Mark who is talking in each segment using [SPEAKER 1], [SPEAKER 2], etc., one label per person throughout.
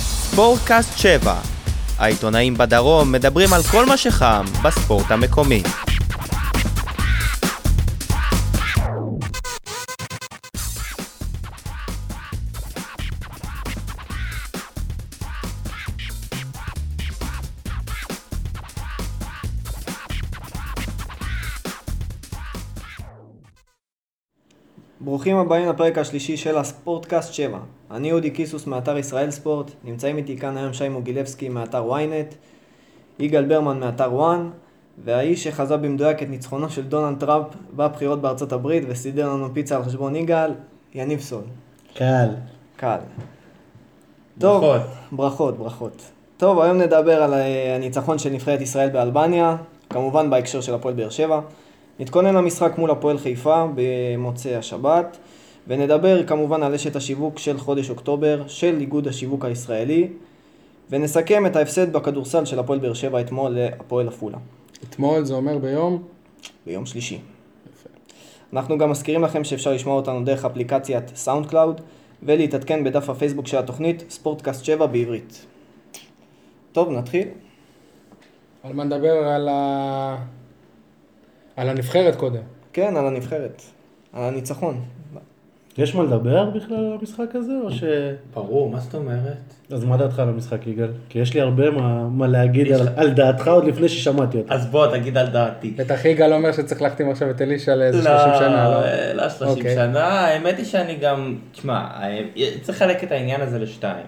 [SPEAKER 1] ספורטקאסט 7. העיתונאים בדרום מדברים על כל מה שחם בספורט המקומי.
[SPEAKER 2] ברוכים הבאים לפרק השלישי של הספורטקאסט 7. אני אודי קיסוס מאתר ישראל ספורט, נמצאים איתי כאן היום שי מוגילבסקי מאתר ynet, יגאל ברמן מאתר וואן, והאיש שחזה במדויק את ניצחונו של דונלד טראמפ בבחירות בארצות הברית וסידר לנו פיצה על חשבון יגאל, יניב סול.
[SPEAKER 3] קל.
[SPEAKER 2] קל. טוב,
[SPEAKER 3] ברכות.
[SPEAKER 2] ברכות, ברכות. טוב, היום נדבר על אה, הניצחון של נבחרת ישראל באלבניה, כמובן בהקשר של הפועל באר שבע. נתכונן למשחק מול הפועל חיפה במוצאי השבת, ונדבר כמובן על אשת השיווק של חודש אוקטובר, של איגוד השיווק הישראלי, ונסכם את ההפסד בכדורסל של הפועל באר שבע אתמול להפועל עפולה,
[SPEAKER 4] אתמול זה אומר ביום,
[SPEAKER 2] ביום שלישי. אנחנו גם מזכירים לכם שאפשר לשמוע אותנו דרך אפליקציית סאונד קלאוד ולהתעדכן בדף הפייסבוק של התוכנית ספורטקאסט 7 בעברית. טוב, נתחיל.
[SPEAKER 4] על מה נדבר? על, ה... על הנבחרת קודם.
[SPEAKER 2] כן, על הנבחרת, על הניצחון.
[SPEAKER 3] יש מה לדבר בכלל על המשחק הזה, או ש...
[SPEAKER 5] ברור, מה זאת אומרת?
[SPEAKER 3] אז מה דעתך על המשחק, יגאל? כי יש לי הרבה מה, מה להגיד על, על דעתך עוד לפני ששמעתי אותה.
[SPEAKER 5] אז בוא, תגיד על דעתי.
[SPEAKER 4] בטח יגאל אומר שצריך להחתים עכשיו את אלישע לאיזה 30 שנה, לא?
[SPEAKER 5] אה, לא 30
[SPEAKER 4] אוקיי.
[SPEAKER 5] שנה, האמת היא שאני גם, תשמע, אה, צריך לחלק את העניין הזה לשתיים.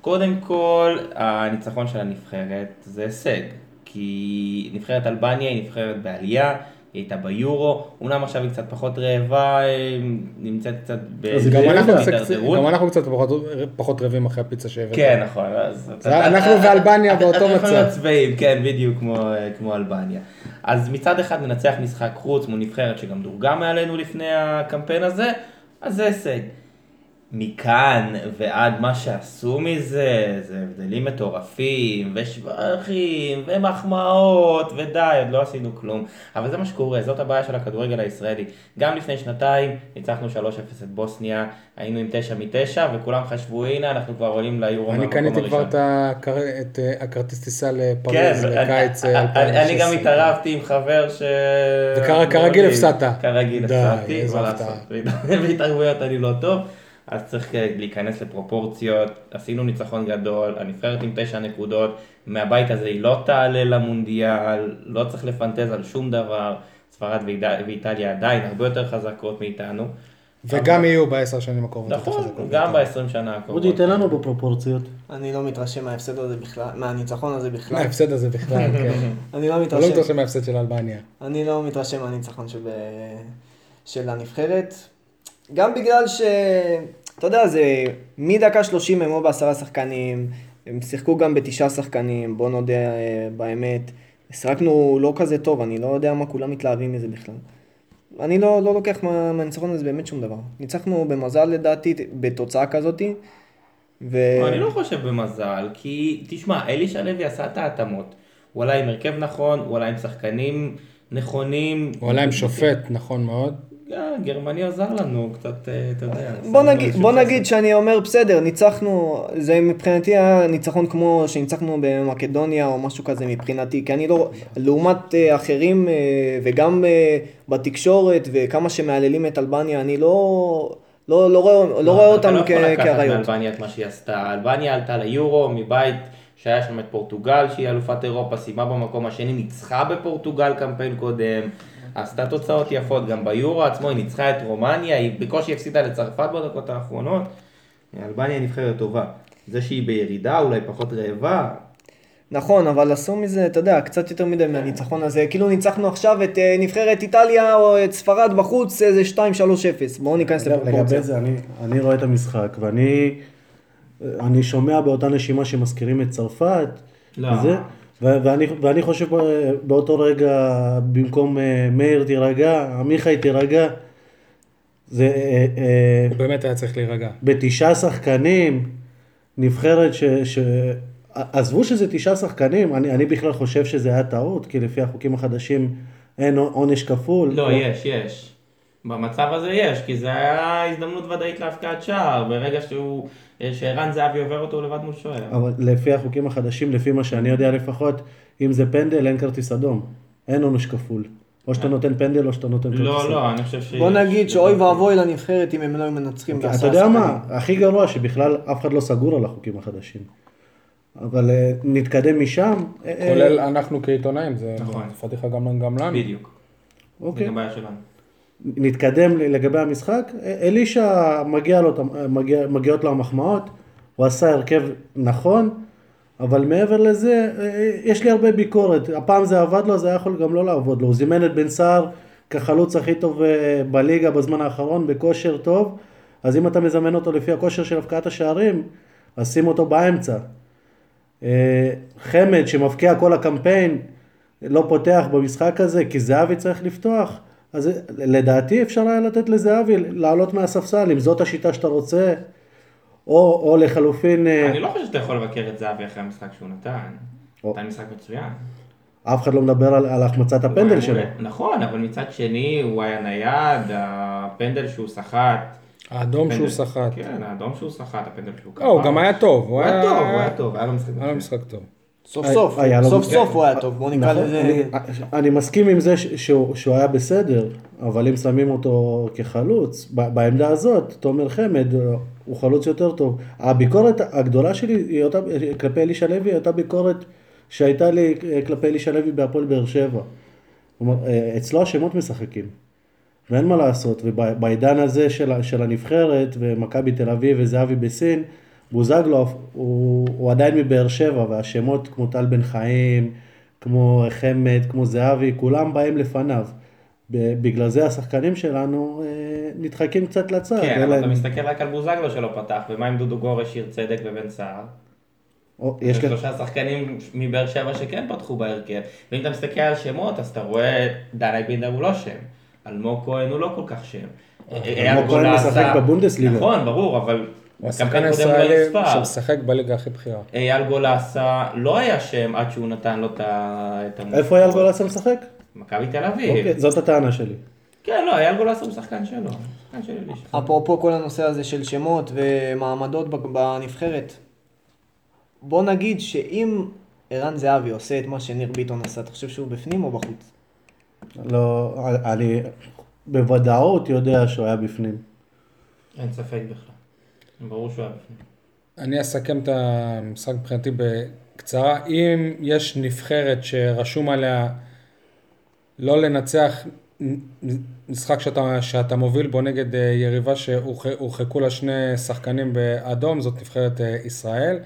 [SPEAKER 5] קודם כל, הניצחון של הנבחרת זה הישג, כי נבחרת אלבניה היא נבחרת בעלייה. היא הייתה ביורו, אמנם עכשיו היא קצת פחות רעבה, אה, נמצאת קצת
[SPEAKER 3] אז גם
[SPEAKER 4] גם
[SPEAKER 5] לא
[SPEAKER 4] אנחנו קצת-
[SPEAKER 5] בהידרדרות.
[SPEAKER 4] גם אנחנו קצת פחות- פחות רעבים אחרי הפיצה שהבאת.
[SPEAKER 5] כן, נכון. אז
[SPEAKER 4] אז אנחנו ואלבניה באותו
[SPEAKER 5] אנחנו
[SPEAKER 4] מצב.
[SPEAKER 5] עצבאים, כן, בדיוק כמו- כמו אלבניה. אז מצד אחד ננצח משחק חוץ מול נבחרת שגם דורגה מעלינו לפני הקמפיין הזה, אז זה הישג. מכאן ועד מה שעשו מזה, זה הבדלים מטורפים, ושבחים, ומחמאות, ודי, עוד לא עשינו כלום. אבל זה מה שקורה, זאת הבעיה של הכדורגל הישראלי. גם לפני שנתיים ניצחנו 3-0 את בוסניה, היינו עם 9 מ-9, וכולם חשבו, הנה, אנחנו כבר עולים ליורו
[SPEAKER 4] אני
[SPEAKER 5] מהמקום
[SPEAKER 4] קניתי כבר
[SPEAKER 5] הראשון."
[SPEAKER 4] את הכר- את, אה, הכרטיס טיסה
[SPEAKER 5] כן,
[SPEAKER 4] לפריז
[SPEAKER 5] אני-
[SPEAKER 4] לקיץ
[SPEAKER 5] אני-
[SPEAKER 4] אה,
[SPEAKER 5] אני- אני גם
[SPEAKER 4] 2016.
[SPEAKER 5] התערבתי עם חבר ש...
[SPEAKER 4] וכר- כרגיל הפסדת.
[SPEAKER 5] כרגיל
[SPEAKER 4] די,
[SPEAKER 5] הפסדתי,
[SPEAKER 4] איזו
[SPEAKER 5] מה
[SPEAKER 4] הפתעה.
[SPEAKER 5] לעשות, בהתערבויות אני לא טוב, אז צריך אה, להיכנס לפרופורציות, עשינו ניצחון גדול, הנבחרת עם תשע נקודות, מהבית הזה היא לא תעלה למונדיאל, לא צריך לפנטז על שום דבר, ספרד ואיד- ואיטליה עדיין הרבה יותר חזקות מאיתנו,
[SPEAKER 4] וגם יהיו בעשר שנים הקרובות.
[SPEAKER 5] נכון,
[SPEAKER 4] חזקות.
[SPEAKER 5] גם ב-20 שנה הקרובות.
[SPEAKER 3] אודי, תן לנו בפרופורציות.
[SPEAKER 2] אני לא מתרשם מההפסד הזה בכלל, מהניצחון הזה בכלל.
[SPEAKER 4] ההפסד הזה בכלל, כן.
[SPEAKER 2] אני לא
[SPEAKER 4] אתה לא
[SPEAKER 2] מתרשם,
[SPEAKER 4] מתרשם מההפסד של אלבניה.
[SPEAKER 2] אני לא מתרשם מהניצחון של, אה, של הנבחרת. גם בגלל ש... אתה יודע, זה מדקה 30 הם או בעשרה שחקנים, הם שיחקו גם בתשעה שחקנים, בוא נודה אה, באמת. שיחקנו לא כזה טוב, אני לא יודע מה כולם מתלהבים מזה בכלל. אני לא, לא לוקח מה- מהניצחון הזה באמת שום דבר. ניצחנו במזל לדעתי, בתוצאה כזאתי. ו...
[SPEAKER 5] אני לא חושב במזל, כי תשמע, אלישע לוי עשה את ההתאמות. הוא עלה עם הרכב נכון, הוא עלה עם שחקנים נכונים.
[SPEAKER 4] הוא עלה עם שופט, נכון מאוד.
[SPEAKER 5] אה, גרמני עזר לנו קצת, אה, אתה יודע.
[SPEAKER 2] בוא
[SPEAKER 5] עשינו
[SPEAKER 2] נגיד,
[SPEAKER 5] איזשהו
[SPEAKER 2] בוא
[SPEAKER 5] חסד.
[SPEAKER 2] נגיד שאני אומר בסדר, ניצחנו, זה מבחינתי היה ניצחון כמו שניצחנו במקדוניה או משהו כזה מבחינתי, כי אני לא, לעומת אה, אחרים אה, וגם אה, בתקשורת וכמה שמהללים את אלבניה, אני לא, לא, לא רואה,
[SPEAKER 3] אה,
[SPEAKER 2] לא רואה אותם
[SPEAKER 5] אתה לא יכול
[SPEAKER 2] כ-
[SPEAKER 5] לקחת
[SPEAKER 2] כאריות.
[SPEAKER 5] מאלבניה את מה שהיא עשתה. אלבניה עלתה ליורו מבית שהיה שם את פורטוגל, שהיא אלופת אירופה, סיימה במקום השני, ניצחה בפורטוגל קמפיין קודם, עשתה תוצאות יפות גם ביורו עצמו, היא ניצחה את רומניה, היא בקושי הפסידה לצרפת בדקות האחרונות. אלבניה היא נבחרת טובה. זה שהיא בירידה, אולי פחות רעבה,
[SPEAKER 2] נכון, אבל עשו מזה, אתה יודע, קצת יותר מדי מהניצחון הזה, כאילו ניצחנו עכשיו את אה, נבחרת איטליה או את ספרד בחוץ, איזה 2-3-0, בואו ניכנס
[SPEAKER 3] אגב, אה, לגבי
[SPEAKER 2] לפרופורציה.
[SPEAKER 3] זה, אני, אני רואה את המשחק, ואני אני שומע באותה נשימה שמזכירים את צרפת,
[SPEAKER 5] לא.
[SPEAKER 3] וזה, ו- ואני, ואני חושב אה, באותו רגע, במקום אה, מאיר תירגע, עמיחי תירגע, זה אה, אה,
[SPEAKER 4] הוא באמת היה צריך להירגע.
[SPEAKER 3] בתשעה שחקנים, נבחרת ש... ש... עזבו שזה תשעה שחקנים, אני, אני בכלל חושב שזה היה טעות, כי לפי החוקים החדשים אין עונש כפול.
[SPEAKER 5] לא, יש, יש. במצב הזה יש, כי זה היה הזדמנות ודאית להפקעת שער, ברגע שהוא, אה, שערן זהבי עובר אותו הוא לבד מול שוער.
[SPEAKER 3] אבל לפי החוקים החדשים, לפי מה שאני יודע לפחות, אם זה פנדל אין כרטיס אדום. אין עונש כפול. או שאתה נותן פנדל או שאתה נותן כרטיס אדום.
[SPEAKER 5] לא, לא, אני חושב ש...
[SPEAKER 2] בוא נגיד שאוי ואבוי לנבחרת אם הם לא היו מנצחים בעשרה
[SPEAKER 3] אה, אוקיי, אתה יודע מה,
[SPEAKER 2] שחקנים.
[SPEAKER 3] הכי גרוע שבכלל אף אחד לא סגור על החוקים החדשים. אבל אה, נתקדם משם. אה, אה,
[SPEAKER 4] כולל אנחנו כעיתונאים, זה
[SPEAKER 5] נכון.
[SPEAKER 4] זה פדיחה גם גם לנו.
[SPEAKER 5] בדיוק. זה
[SPEAKER 3] אוקיי.
[SPEAKER 5] גם בעיה שלנו.
[SPEAKER 3] נתקדם לגבי המשחק, אלישע מגיע לו, מגיע, מגיעות לו המחמאות, הוא עשה הרכב נכון, אבל מעבר לזה, אה, יש לי הרבה ביקורת, הפעם זה עבד לו, זה היה יכול גם לא לעבוד לו, הוא זימן את בן סער כחלוץ הכי טוב אה, בליגה בזמן האחרון, בכושר טוב, אז אם אתה מזמן אותו לפי הכושר של הבקעת השערים, אז שים אותו באמצע. אה, חמד שמבקיע כל הקמפיין, לא פותח במשחק הזה, כי זהבי צריך לפתוח. אז אה, לדעתי אפשר היה לתת לזהבי לעלות מהספסל, אם זאת השיטה שאתה רוצה, או, או לחלופין, אה,
[SPEAKER 5] אני לא חושב שאתה יכול לבקר את זהבי אחרי המשחק שהוא נתן.
[SPEAKER 3] או.
[SPEAKER 5] נתן משחק מצוין.
[SPEAKER 3] אף אחד לא מדבר על, על החמצת
[SPEAKER 5] הוא היה
[SPEAKER 3] הפנדל שלו.
[SPEAKER 5] מעולה. נכון, אבל מצד שני הוא היה נייד, הפנדל שהוא סחט.
[SPEAKER 4] האדום שהוא
[SPEAKER 5] פנדל.
[SPEAKER 4] סחט.
[SPEAKER 5] כן, האדום שהוא סחט, הפנדל שהוא קבע.
[SPEAKER 4] לא, הוא גם היה טוב.
[SPEAKER 5] הוא היה טוב, הוא היה טוב, היה לו משחק
[SPEAKER 4] היה לו
[SPEAKER 5] מצוין.
[SPEAKER 4] משחק טוב.
[SPEAKER 2] סוף
[SPEAKER 3] היה-
[SPEAKER 2] סוף,
[SPEAKER 3] היה לו-
[SPEAKER 2] סוף
[SPEAKER 3] כן.
[SPEAKER 2] סוף הוא היה טוב, בוא נקרא
[SPEAKER 3] נכון,
[SPEAKER 2] לזה.
[SPEAKER 3] אני- אני מסכים עם זה ש- שהוא שהוא היה בסדר, אבל אם שמים אותו כחלוץ, ב- בעמדה הזאת, תומר חמד אה, הוא חלוץ יותר טוב. הביקורת הגדולה שלי היא אותה, כלפי אלישע לוי, היא אותה ביקורת שהייתה לי אה, כלפי אלישע לוי בהפועל באר שבע. כלומר, אה, אצלו השמות משחקים. ואין מה לעשות, ובעידן הזה של, ה- של הנבחרת, ומכבי תל אביב וזהבי בסין, בוזגלו הוא, הוא עדיין מבאר שבע, והשמות כמו טל בן חיים, כמו חמד, כמו זהבי, כולם באים לפניו. ב- בגלל זה השחקנים שלנו אה, נדחקים קצת לצד.
[SPEAKER 5] כן,
[SPEAKER 3] אלא
[SPEAKER 5] אבל אתה
[SPEAKER 3] אם-
[SPEAKER 5] מסתכל רק על בוזגלו שלא פתח, ומה עם דודו גורש, שיר צדק ובן סער?
[SPEAKER 3] או,
[SPEAKER 5] יש
[SPEAKER 3] יש לך...
[SPEAKER 5] שלושה שחקנים מבאר שבע שכן פתחו בהרכב. ואם אתה מסתכל על שמות, אז אתה רואה דני בינדר הוא לא שם. אלמוג כהן הוא לא כל כך שם. אה, אייל
[SPEAKER 3] אלמוג כהן
[SPEAKER 5] גולן
[SPEAKER 3] משחק
[SPEAKER 5] עשה-
[SPEAKER 3] בבונדסליגה.
[SPEAKER 5] נכון, ברור, אבל...
[SPEAKER 4] הוא השחקן
[SPEAKER 5] הקמפיין הקודם לא
[SPEAKER 4] הישראלי
[SPEAKER 5] נספר.
[SPEAKER 4] שמשחק בליגה הכי בכירה.
[SPEAKER 5] אייל גולסה לא היה שם עד שהוא נתן לו את ה... את המ-
[SPEAKER 3] איפה אייל גולסה משחק?
[SPEAKER 5] מכבי תל אביב.
[SPEAKER 3] אוקיי, זאת הטענה שלי.
[SPEAKER 5] כן, לא, אייל גולסה הוא שחקן שלו. שחקן של אלישע.
[SPEAKER 2] אפרופו כל הנושא הזה של שמות ומעמדות בק- בנבחרת, בוא נגיד שאם ערן זהבי עושה את מה שניר ביטון עשה, אתה חושב שהוא בפנים או בחוץ?
[SPEAKER 3] לא, אני בוודאות יודע שהוא היה בפנים.
[SPEAKER 5] אין ספק בכלל. ברור שהוא היה בפנים.
[SPEAKER 4] אני אסכם את המשחק מבחינתי בקצרה. אם יש נבחרת שרשום עליה לא לנצח משחק שאתה, שאתה מוביל בו נגד אה, יריבה שהורחקו לה שני שחקנים באדום, זאת נבחרת אה, ישראל.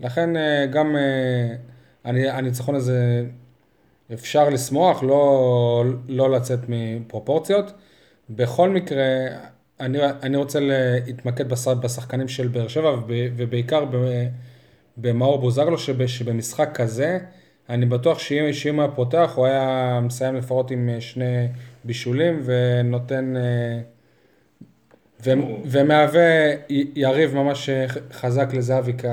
[SPEAKER 4] לכן אה, גם אה, אני- הניצחון הזה אפשר לשמוח, לא, לא לצאת מפרופורציות. בכל מקרה, אני, אני רוצה להתמקד בש- בשחקנים של באר שבע, וב, ובעיקר ב, במאור בוזגלו, שב, שבמשחק כזה, אני בטוח שאם, שאם היה פותח, הוא היה מסיים לפחות עם אה, שני בישולים, ונותן... אה, ו, ומהווה י- יריב ממש אה, ח- חזק לזהבי כ...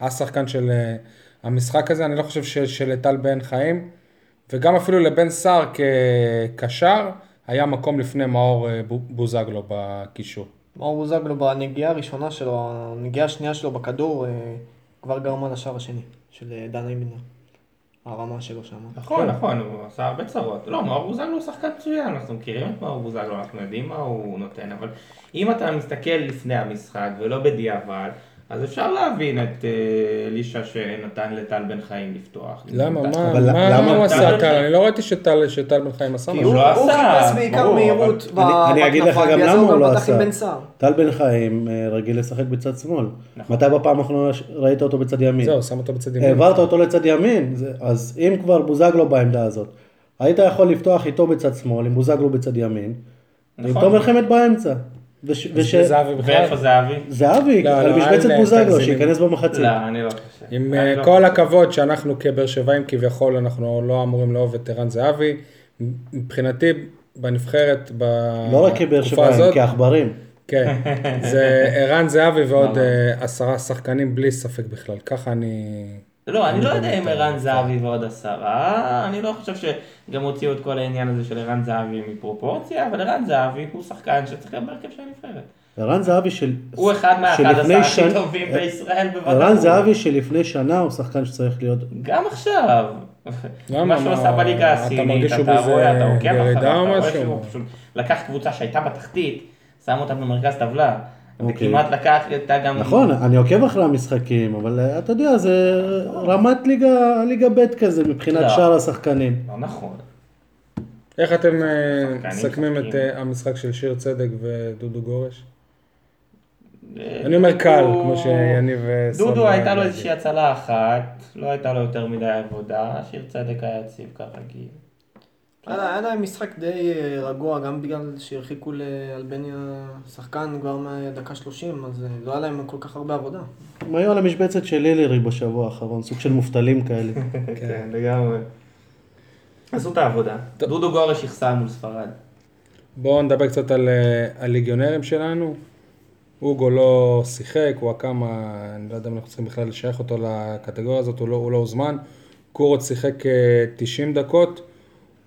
[SPEAKER 4] השחקן של אה, המשחק הזה, אני לא חושב ש- שלטל בן חיים, וגם אפילו לבן סער כקשר, היה מקום לפני מאור אה, בו- בוזגלו בקישור.
[SPEAKER 2] מאור בוזגלו בנגיעה הראשונה שלו, הנגיעה השנייה שלו בכדור, אה, כבר גרמה לשער השני של אה, דן אימינר. הרמה שלו שם.
[SPEAKER 4] כן.
[SPEAKER 5] נכון, נכון, הוא עשה הרבה צרות. לא, מאור בוזגלו הוא שחקן מצוין, אנחנו מכירים את מאור בוזגלו, אנחנו יודעים מה הוא נותן, אבל אם אתה מסתכל לפני המשחק ולא בדיעבד, אז אפשר להבין את אה, אלישע שנתן לטל בן חיים לפתוח.
[SPEAKER 4] למה?
[SPEAKER 5] נתן-
[SPEAKER 4] מה-
[SPEAKER 3] אבל
[SPEAKER 4] מה
[SPEAKER 3] למה-
[SPEAKER 4] מה הוא עשה
[SPEAKER 5] למה-
[SPEAKER 4] כאן? אני לא ראיתי שטל שטל בן חיים עשה
[SPEAKER 5] כי
[SPEAKER 4] משהו.
[SPEAKER 2] הוא
[SPEAKER 5] לא
[SPEAKER 2] הוא
[SPEAKER 5] עשה,
[SPEAKER 2] חיפש בעיקר
[SPEAKER 5] ברור,
[SPEAKER 2] מהירות ב-
[SPEAKER 3] אני, אני אגיד לך
[SPEAKER 2] בכנפיים,
[SPEAKER 3] גם
[SPEAKER 2] בגלל זה
[SPEAKER 3] למה הוא לא
[SPEAKER 2] פתח עם
[SPEAKER 3] עשה.
[SPEAKER 2] בן סער.
[SPEAKER 3] טל בן חיים אה, רגיל לשחק בצד שמאל.
[SPEAKER 5] נכון.
[SPEAKER 3] מתי בפעם האחרונה ש- ראית אותו בצד ימין?
[SPEAKER 4] זהו, שם אותו בצד ימין.
[SPEAKER 3] העברת אותו לצד ימין, זה- אז אם כבר בוזגלו בעמדה הזאת, היית יכול לפתוח איתו בצד שמאל, עם בוזגלו בצד ימין, עם
[SPEAKER 5] נכון.
[SPEAKER 3] תומר חמד באמצע. וש- וש-
[SPEAKER 4] זהבי בכלל.
[SPEAKER 5] ואיפה זהבי?
[SPEAKER 3] זהבי,
[SPEAKER 4] לא,
[SPEAKER 3] על
[SPEAKER 4] לא,
[SPEAKER 3] משבצת
[SPEAKER 4] אל
[SPEAKER 3] בוזגלו,
[SPEAKER 4] תגזימי.
[SPEAKER 3] שייכנס במחצית.
[SPEAKER 5] לא, אני לא חושב.
[SPEAKER 4] עם
[SPEAKER 5] אני
[SPEAKER 4] אה,
[SPEAKER 5] לא
[SPEAKER 4] כל
[SPEAKER 5] חושב.
[SPEAKER 4] הכבוד שאנחנו כבאר שבעים כביכול, אנחנו לא אמורים לאהוב את ערן זהבי. מבחינתי, בנבחרת,
[SPEAKER 3] לא רק כבאר
[SPEAKER 4] בתקופה
[SPEAKER 3] שבעים,
[SPEAKER 4] הזאת,
[SPEAKER 3] כעכברים.
[SPEAKER 4] כן, זה ערן זהבי ועוד אה, עשרה שחקנים בלי ספק בכלל, ככה אני
[SPEAKER 5] לא, אני לא יודע אם ערן זהבי ועוד עשרה, אני לא חושב שגם הוציאו את כל העניין הזה של ערן זהבי מפרופורציה, אבל ערן זהבי הוא שחקן שצריך להיות בהרכב של הנבחרת.
[SPEAKER 3] ערן זהבי של...
[SPEAKER 5] הוא אחד מהאחד
[SPEAKER 3] שלפני
[SPEAKER 5] עשרה
[SPEAKER 3] שנה- אה,
[SPEAKER 5] הכי טובים בישראל בוודאות.
[SPEAKER 3] ערן זהבי שלפני שנה הוא שחקן שצריך להיות...
[SPEAKER 5] גם עכשיו.
[SPEAKER 4] למה?
[SPEAKER 5] מה שהוא עשה בליגה
[SPEAKER 4] אתה
[SPEAKER 5] הסינית,
[SPEAKER 4] מרגיש שהוא
[SPEAKER 5] אתה
[SPEAKER 4] באיזה
[SPEAKER 5] רואה, אתה עוקב אחריו,
[SPEAKER 4] ירידה
[SPEAKER 5] אתה
[SPEAKER 4] או
[SPEAKER 5] רואה
[SPEAKER 4] משהו?
[SPEAKER 5] שהוא פשוט לקח קבוצה שהייתה בתחתית, שם אותה במרכז טבלה,
[SPEAKER 3] אוקיי.
[SPEAKER 5] וכמעט לקח, הייתה גם...
[SPEAKER 3] נכון, אני עוקב אחרי המשחקים, אבל אה, אתה יודע, זה רמת ליגה, ליגה ב' כזה מבחינת
[SPEAKER 5] לא.
[SPEAKER 3] שאר השחקנים.
[SPEAKER 5] לא נכון.
[SPEAKER 4] איך אתם אה,
[SPEAKER 5] שחקנים,
[SPEAKER 4] מסכמים את
[SPEAKER 5] שחקנים.
[SPEAKER 4] אה, המשחק של שיר צדק ודודו גורש?
[SPEAKER 5] אה,
[SPEAKER 4] אני אומר קל,
[SPEAKER 5] הוא-
[SPEAKER 4] כמו שיניב אה, סבא...
[SPEAKER 5] דודו הייתה לו
[SPEAKER 4] להגיד.
[SPEAKER 5] איזושהי הצלה אחת, לא הייתה לו יותר מדי עבודה, שיר צדק היה יציב כרגיל.
[SPEAKER 2] היה היה להם משחק די אה, רגוע, גם בגלל שהרחיקו לאלבניה שחקן כבר מהדקה 30, אז אה, לא היה להם כל כך הרבה עבודה.
[SPEAKER 3] הם היו על המשבצת של לילירי בשבוע האחרון, סוג של מובטלים כאלה.
[SPEAKER 5] כן, לגמרי. עשו את העבודה. דודו גורש יחסר מול ספרד.
[SPEAKER 4] בואו נדבר קצת על אה, הליגיונרים שלנו. אוגו לא שיחק, הוא הקמה, אני לא יודע אם אנחנו צריכים בכלל לשייך אותו לקטגוריה הזאת, הוא לא, הוא לא הוזמן. קורות שיחק אה, 90 דקות,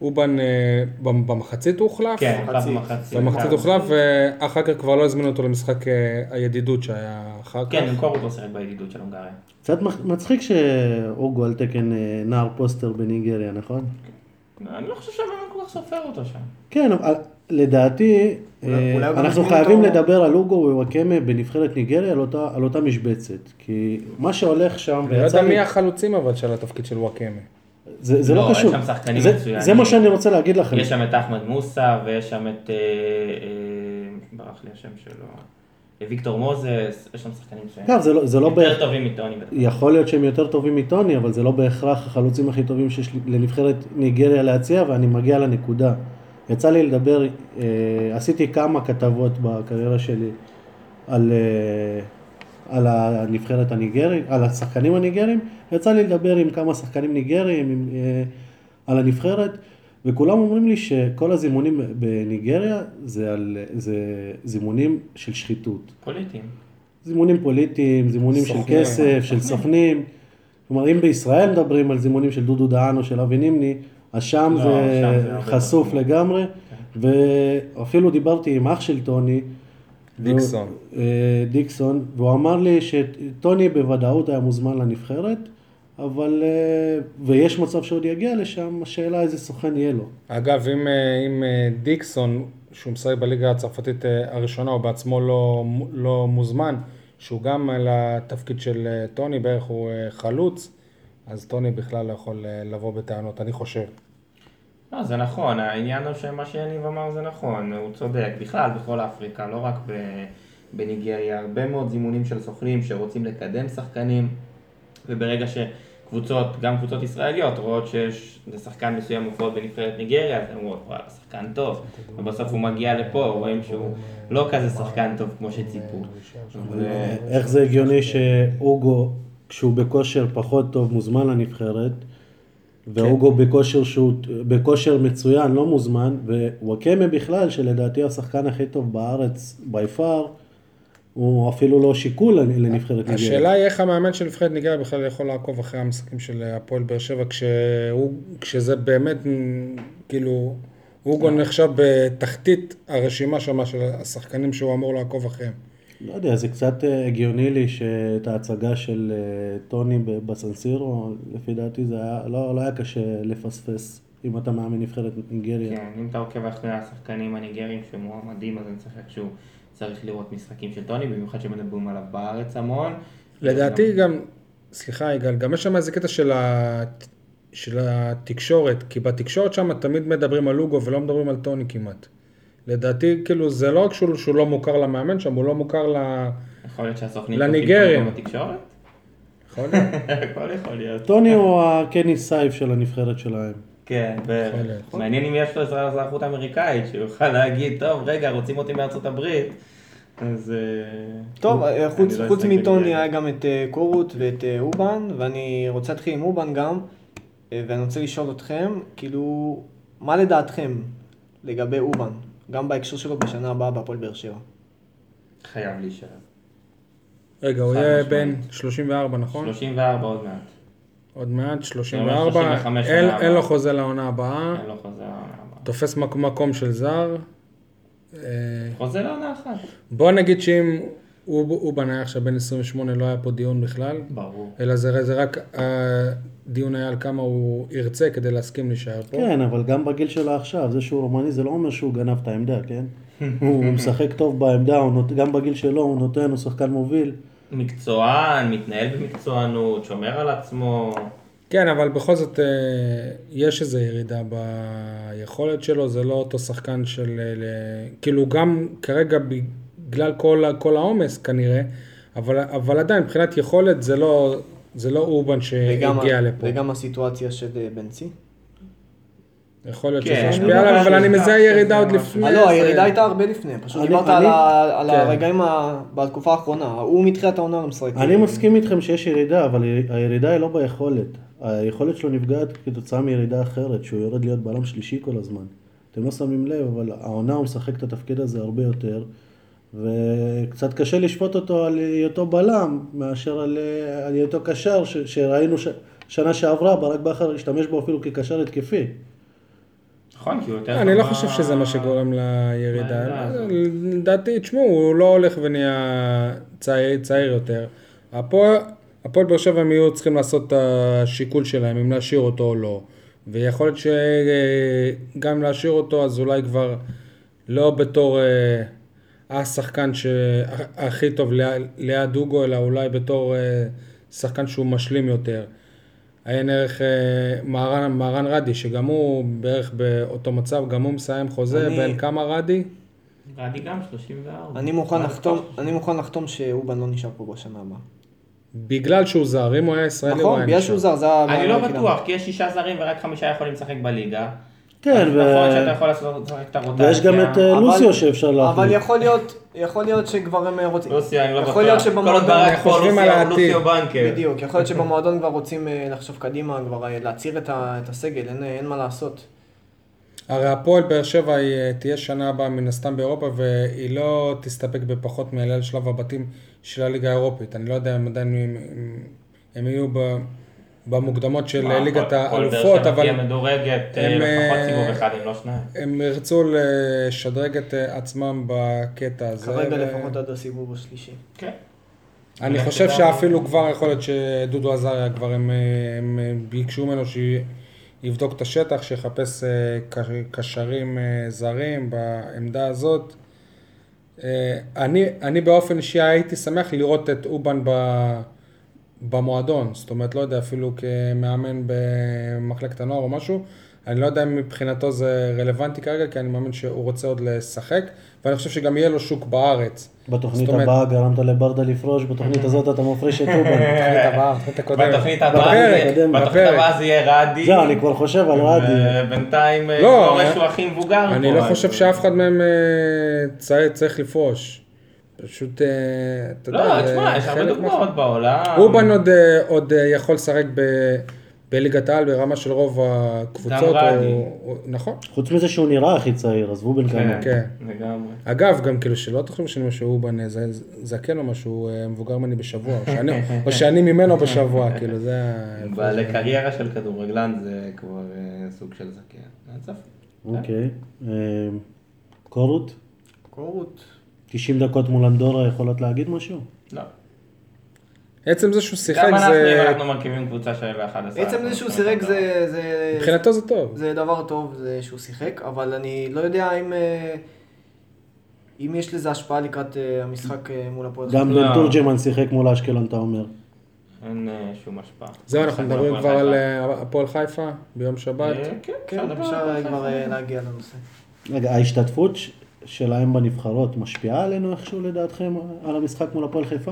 [SPEAKER 4] אובן אה, במ- במחצית הוא הוחלף.
[SPEAKER 5] כן,
[SPEAKER 2] מחצית.
[SPEAKER 5] הוא במחצית.
[SPEAKER 4] במחצית הוחלף, ואחר כך כבר לא הזמינו אותו למשחק אה, הידידות שהיה אחר כך.
[SPEAKER 5] כן, במקור הוא לא שיחק בידידות של הונגריה.
[SPEAKER 3] קצת מח- מצחיק שהוגו על תקן אה, נער פוסטר בניגריה, נכון?
[SPEAKER 5] אני לא חושב שהבאמת כל כך סופר אותו שם.
[SPEAKER 3] כן, אבל לדעתי,
[SPEAKER 2] אולי-
[SPEAKER 3] אה,
[SPEAKER 2] אולי הוא גם
[SPEAKER 3] אנחנו
[SPEAKER 2] הזמין
[SPEAKER 3] חייבים
[SPEAKER 2] אותו-
[SPEAKER 3] לדבר על אוגו וואקמה בנבחרת ניגריה על אותה- על אותה משבצת. כי מה שהולך שם,
[SPEAKER 4] אני לא
[SPEAKER 3] ויצא
[SPEAKER 4] יודע
[SPEAKER 3] לי-
[SPEAKER 4] מי החלוצים אבל של התפקיד של וואקמה.
[SPEAKER 3] זה זה לא
[SPEAKER 5] לא,
[SPEAKER 3] קשור.
[SPEAKER 5] יש שם שחקנים
[SPEAKER 3] זה-
[SPEAKER 5] מצוינים.
[SPEAKER 3] זה מה שאני רוצה להגיד לכם.
[SPEAKER 5] יש שם את אחמד מוסא, ויש שם את... אה, אה, ברח לי השם שלו. אה, ויקטור מוזס, יש שם שחקנים מצוינים.
[SPEAKER 3] אגב, זה לא- זה לא בהכרח...
[SPEAKER 5] יותר טובים מטוני בטח.
[SPEAKER 3] יכול להיות שהם יותר טובים מטוני, אבל זה לא בהכרח החלוצים הכי טובים שיש לי- לנבחרת ניגריה להציע, ואני מגיע לנקודה. יצא לי לדבר, אה, עשיתי כמה כתבות בקריירה שלי על, אה, על הנבחרת הניגרית, על השחקנים הניגרים, יצא לי לדבר עם כמה שחקנים ניגרים עם, אה, על הנבחרת, וכולם אומרים לי שכל הזימונים בניגריה זה, על, זה זימונים של שחיתות.
[SPEAKER 5] פוליטיים.
[SPEAKER 3] זימונים פוליטיים, זימונים של
[SPEAKER 4] סוכנים.
[SPEAKER 3] כסף, של סוכנים. כלומר, אם בישראל מדברים על זימונים של דודו דהן או של אבי נימני, אז שם
[SPEAKER 5] לא,
[SPEAKER 3] זה
[SPEAKER 5] שם זה הרבה
[SPEAKER 3] חשוף
[SPEAKER 5] פחות. כן.
[SPEAKER 3] לגמרי. ואפילו דיברתי עם אח של טוני.
[SPEAKER 4] דיקסון.
[SPEAKER 3] והוא- אה, דיקסון, והוא אמר לי שטוני בוודאות היה מוזמן לנבחרת, אבל... אה, ויש מצב שעוד יגיע לשם, השאלה איזה סוכן יהיה לו.
[SPEAKER 4] אגב, אם, אה, אם אה, דיקסון, שהוא משחק בליגה הצרפתית אה, הראשונה, הוא בעצמו לא, לא מוזמן, שהוא גם על התפקיד של אה, טוני, בערך הוא אה, חלוץ, אז טוני בכלל לא יכול אה, לבוא בטענות, אני חושב.
[SPEAKER 5] לא, זה נכון, העניין הוא שמה שיניב אמר זה נכון, הוא צודק, בכלל בכל אפריקה, לא רק ב... בניגריה, הרבה מאוד זימונים של סוכנים שרוצים לקדם שחקנים, וברגע שקבוצות, גם קבוצות ישראליות, רואות שיש לשחקן מסוים מופיעות בנבחרת ניגריה, אז הן אומרות, וואלה, שחקן טוב, ובסוף הוא מגיע לפה, רואים שהוא לא כזה שחקן טוב כמו שציפו. אבל, אה,
[SPEAKER 3] איך זה הגיוני שאוגו, כשהוא בכושר פחות טוב, מוזמן לנבחרת, ואוגו
[SPEAKER 5] כן.
[SPEAKER 3] בכושר שהוא, בכושר מצוין, לא מוזמן, ווואקמה בכלל, שלדעתי הוא השחקן הכי טוב בארץ, by far, הוא אפילו לא שיקול לנבחרת ניגריה.
[SPEAKER 4] השאלה היא איך המאמן של נבחרת ניגריה בכלל יכול לעקוב אחרי המשחקים של הפועל באר שבע, כשהוא, כשזה באמת, מ, כאילו, אוגו נחשב בתחתית הרשימה שמה של השחקנים שהוא אמור לעקוב אחריהם.
[SPEAKER 3] לא יודע, זה קצת אה, הגיוני לי שאת ההצגה של אה, טוני ב- בסנסירו, לפי דעתי זה היה, לא, לא היה קשה לפספס, אם אתה מאמן נבחרת ניגריה.
[SPEAKER 5] כן, אם אתה עוקב אחרי השחקנים הניגרים שמועמדים, אז אני צריך איכשהו, צריך לראות משחקים של טוני, במיוחד שמדברים עליו בארץ המון.
[SPEAKER 4] לדעתי גם, סליחה יגאל, גם יש שם איזה קטע של, ה... של התקשורת, כי בתקשורת שם תמיד מדברים על לוגו ולא מדברים על טוני כמעט. לדעתי, כאילו, זה לא רק שהוא, שהוא לא מוכר למאמן שם, הוא לא מוכר ל...
[SPEAKER 5] יכול להיות שהסוכנים...
[SPEAKER 4] לניגרים.
[SPEAKER 5] צופים בנו בתקשורת?
[SPEAKER 4] יכול להיות,
[SPEAKER 5] הכל יכול להיות.
[SPEAKER 3] טוני הוא כן, הקני סייף של הנבחרת שלהם.
[SPEAKER 5] כן, ו-
[SPEAKER 4] יכול להיות.
[SPEAKER 5] מעניין אם יש לו עזרה אזרחות אמריקאית, שהוא יוכל להגיד, טוב, רגע, רוצים אותי מארצות הברית. אז... אה,
[SPEAKER 2] טוב,
[SPEAKER 5] אני
[SPEAKER 2] אה, חוץ,
[SPEAKER 5] לא
[SPEAKER 2] חוץ
[SPEAKER 5] אשחק
[SPEAKER 2] מטוני
[SPEAKER 5] בניגריה.
[SPEAKER 2] היה גם את אה, קורות ואת אה, אובן, ואני רוצה להתחיל עם אובן גם, אה, ואני רוצה לשאול אתכם, כאילו, מה לדעתכם לגבי אובן, גם בהקשר שלו בשנה הבאה בהפועל באר שבע?
[SPEAKER 5] חייב להישאר.
[SPEAKER 4] רגע, הוא
[SPEAKER 5] חד
[SPEAKER 4] יהיה
[SPEAKER 5] משמעית.
[SPEAKER 4] בן 34, נכון?
[SPEAKER 5] 34 עוד מעט.
[SPEAKER 4] עוד מעט,
[SPEAKER 5] עוד מעט
[SPEAKER 4] 34,
[SPEAKER 5] 35
[SPEAKER 4] אין-
[SPEAKER 5] לעונה הבאה.
[SPEAKER 4] אין לו חוזה לעונה הבאה,
[SPEAKER 5] אני לא חוזר לעונה הבאה.
[SPEAKER 4] תופס מק- מקום של זר. אה,
[SPEAKER 5] חוזר לעונה אחת.
[SPEAKER 4] בוא נגיד שאם הוא הוא בנה עכשיו בן 28 לא היה פה דיון בכלל,
[SPEAKER 5] ברור.
[SPEAKER 4] אלא זה זה רק הדיון היה על כמה הוא ירצה כדי להסכים להישאר פה.
[SPEAKER 3] כן, אבל גם בגיל שלה עכשיו, זה שהוא רומני זה לא אומר שהוא גנב את העמדה, כן? הוא משחק טוב בעמדה, הוא נות... גם בגיל שלו הוא נותן, הוא שחקן מוביל.
[SPEAKER 5] מקצוען, מתנהל במקצוענות, שומר על עצמו.
[SPEAKER 4] כן, אבל בכל זאת אה, יש איזו ירידה ביכולת שלו, זה לא אותו שחקן של... אה, ל- כאילו גם כרגע בגלל כל, ה- כל העומס כנראה, אבל, אבל עדיין מבחינת יכולת זה לא, זה לא אובן
[SPEAKER 2] וגם,
[SPEAKER 4] שהגיע לפה.
[SPEAKER 2] וגם הסיטואציה של אה, בנצי.
[SPEAKER 4] יכול להיות
[SPEAKER 5] כן,
[SPEAKER 4] שזה
[SPEAKER 5] אני
[SPEAKER 4] השפיע
[SPEAKER 5] לא
[SPEAKER 4] עליו,
[SPEAKER 5] חושב
[SPEAKER 4] אבל אני
[SPEAKER 5] שזה-
[SPEAKER 4] מזהה ירידה עוד
[SPEAKER 5] זה
[SPEAKER 4] לפני.
[SPEAKER 2] אה,
[SPEAKER 4] זה.
[SPEAKER 2] לא, הירידה הייתה הרבה לפני, פשוט
[SPEAKER 3] אני-
[SPEAKER 2] דיברת
[SPEAKER 3] אני-
[SPEAKER 2] על ה- על
[SPEAKER 4] כן.
[SPEAKER 2] הרגעים ה- בתקופה האחרונה, הוא מתחילת העונה לא משחק.
[SPEAKER 3] אני מסכים איתכם שיש ירידה, אבל הירידה היא לא ביכולת. היכולת שלו נפגעת כתוצאה מירידה אחרת, שהוא יורד להיות בלם שלישי כל הזמן. אתם לא שמים לב, אבל העונה הוא משחק את התפקיד הזה הרבה יותר, וקצת קשה לשפוט אותו על היותו בלם, מאשר על, אה, על היותו קשר, ש, שראינו ש, שנה שעברה, ברק בכר השתמש בו אפילו כקשר התקפי.
[SPEAKER 5] נכון, כי הוא יותר...
[SPEAKER 4] אני לא
[SPEAKER 5] טוב
[SPEAKER 4] חושב
[SPEAKER 5] ב-
[SPEAKER 4] שזה מה שגורם לירידה.
[SPEAKER 5] בירידה הזאת.
[SPEAKER 4] לדעתי, תשמעו, הוא לא הולך ונהיה צעיר, צעיר יותר. הפועל הפועל באר שבע הם יהיו צריכים לעשות את השיקול שלהם, אם להשאיר אותו או לא. ויכול להיות שגם אם להשאיר אותו, אז אולי כבר לא בתור אה, השחקן שהכי טוב ליד- ליד דוגו, אלא אולי בתור אה, שחקן שהוא משלים יותר. עיין ערך אה, מהרן, מהרן רדי, שגם הוא בערך באותו מצב, גם הוא מסיים חוזה,
[SPEAKER 2] אני-
[SPEAKER 4] בן כמה רדי?
[SPEAKER 5] רדי גם 34.
[SPEAKER 2] אני מוכן לחתום, אני מוכן לחתום שאובן לא נשאר פה בשנה הבאה.
[SPEAKER 4] בגלל שהוא זר, אם הוא היה ישראלי הוא
[SPEAKER 2] נכון,
[SPEAKER 4] היה
[SPEAKER 2] בגלל שהוא זר, זה הבעיה
[SPEAKER 5] אני לא
[SPEAKER 2] היחידה.
[SPEAKER 5] בטוח, כי יש שישה זרים ורק חמישה יכולים לשחק בליגה.
[SPEAKER 3] כן,
[SPEAKER 5] אז
[SPEAKER 3] ו...
[SPEAKER 5] נכון שאתה יכול לעשות לשחק את הרוטציה.
[SPEAKER 3] ויש גם את אה,
[SPEAKER 2] אבל-
[SPEAKER 3] לוסיו שאפשר
[SPEAKER 2] אבל
[SPEAKER 3] להחליט.
[SPEAKER 2] יכול להיות, יכול להיות שכבר הם אה, רוצים.
[SPEAKER 5] לוסי, אני לא בטוח.
[SPEAKER 2] יכול להיות
[SPEAKER 5] כל עוד
[SPEAKER 2] שבמועדון,
[SPEAKER 5] ברק פה,
[SPEAKER 4] חושבים
[SPEAKER 5] לוסי-
[SPEAKER 4] על העתיד.
[SPEAKER 5] לוסיו בנקר.
[SPEAKER 2] בדיוק, יכול להיות שבמועדון כבר רוצים אה, לחשוב קדימה, כבר אה, להצעיר את ה- את הסגל, אין- אה, אין מה לעשות.
[SPEAKER 4] הרי הפועל באר שבע היא אה, תהיה שנה הבאה מן הסתם באירופה, והיא לא תסתפק בפחות מאלה שלב הבתים של הליגה האירופית. אני לא יודע אם עדיין הם, הם, הם יהיו ב, במוקדמות של
[SPEAKER 5] מה,
[SPEAKER 4] ליגת
[SPEAKER 5] כל- כל
[SPEAKER 4] האלופות,
[SPEAKER 5] באר שבע
[SPEAKER 4] אבל...
[SPEAKER 5] תהיה מדורגת אה,
[SPEAKER 4] הם, אה,
[SPEAKER 5] לפחות סיבוב אחד, אם לא שניים.
[SPEAKER 4] הם ירצו לשדרג את אה, עצמם בקטע הזה.
[SPEAKER 2] כרגע
[SPEAKER 4] ו-
[SPEAKER 2] לפחות עד הסיבוב השלישי.
[SPEAKER 5] כן.
[SPEAKER 4] אני חושב שאפילו כבר יכול להיות שדודו עזריה כבר הם, הם ביקשו ממנו שיבדוק את השטח, שיחפש אה, ק- קשרים אה, זרים בעמדה הזאת. אה, אני, אני באופן אישי הייתי שמח לראות את אובן ב, במועדון, זאת אומרת לא יודע אפילו כמאמן במחלקת הנוער או משהו, אני לא יודע אם מבחינתו זה רלוונטי כרגע, כי אני מאמין שהוא רוצה עוד לשחק, ואני חושב שגם יהיה לו שוק בארץ.
[SPEAKER 3] בתוכנית
[SPEAKER 4] זאת אומרת-
[SPEAKER 3] הבאה גרמת לברדה לפרוש, בתוכנית הזאת אתה מפריש את אובן.
[SPEAKER 4] בתוכנית הבאה, בתוכנית הקודמת.
[SPEAKER 5] בתוכנית הבאה
[SPEAKER 4] בפרק,
[SPEAKER 5] זה-
[SPEAKER 3] קודם,
[SPEAKER 5] בתוכנית
[SPEAKER 4] בפרק.
[SPEAKER 5] הבאה זה יהיה רדי.
[SPEAKER 3] זהו, אני כבר חושב על רדי.
[SPEAKER 5] ובינתיים אה,
[SPEAKER 4] לא,
[SPEAKER 5] גורש
[SPEAKER 4] אני-
[SPEAKER 5] הוא הכי מבוגר פה.
[SPEAKER 4] אני לא
[SPEAKER 5] אז-
[SPEAKER 4] חושב שאף אחד מהם אה, צר- צריך לפרוש. פשוט, אה, אתה יודע,
[SPEAKER 5] לא,
[SPEAKER 4] זה
[SPEAKER 5] תשמע, יש הרבה
[SPEAKER 4] אה, חלק מה-
[SPEAKER 5] דוגמאות בעולם.
[SPEAKER 4] אובן עוד, אה, עוד אה, יכול לשחק ב- בליגת העל ברמה של רוב הקבוצות. אה,
[SPEAKER 5] גם רדי.
[SPEAKER 4] הוא- הוא- נכון.
[SPEAKER 3] חוץ מזה שהוא נראה הכי צעיר, עזבו בן כמה.
[SPEAKER 5] כן,
[SPEAKER 4] כן.
[SPEAKER 5] לגמרי.
[SPEAKER 4] אגב, גם כאילו שלא תחשוב שאני אומר שאובן אה, זה- זקן או משהו, אה, מבוגר ממני בשבוע, או שאני- או שאני ממנו בשבוע, כאילו זה... ה-
[SPEAKER 5] בעלי קריירה של כדורגלן זה כבר אה, סוג של זקן. אז יופי.
[SPEAKER 3] אוקיי. אה, קורות,
[SPEAKER 2] קורות.
[SPEAKER 3] 90 דקות מול אנדורה יכולות להגיד משהו?
[SPEAKER 5] לא.
[SPEAKER 4] עצם זה שהוא שיחק
[SPEAKER 5] גם אנחנו, אם
[SPEAKER 4] זה...
[SPEAKER 5] אנחנו מרכיבים קבוצה של 11.
[SPEAKER 2] עצם זה שהוא סירק זה... זה-
[SPEAKER 4] מבחינתו זה טוב.
[SPEAKER 2] זה דבר טוב זה שהוא שיחק, אבל אני לא יודע אם... אה, אם יש לזה השפעה לקראת אה, המשחק אה, מול הפועל.
[SPEAKER 3] גם
[SPEAKER 5] לא.
[SPEAKER 3] בן תורג'מן שיחק מול אשקלון, אתה אומר.
[SPEAKER 5] אין אה, שום השפעה.
[SPEAKER 4] זהו, אנחנו מדברים כבר על אה, הפועל חיפה ביום
[SPEAKER 5] אה,
[SPEAKER 4] שבת.
[SPEAKER 5] כן,
[SPEAKER 2] כן,
[SPEAKER 5] אפשר לדבר
[SPEAKER 2] אפשר
[SPEAKER 5] על
[SPEAKER 2] כבר
[SPEAKER 5] חיפה.
[SPEAKER 2] אה, להגיע לנושא.
[SPEAKER 3] רגע, ההשתתפות ש- שלהם בנבחרות משפיעה עלינו איכשהו לדעתכם על המשחק מול הפועל חיפה?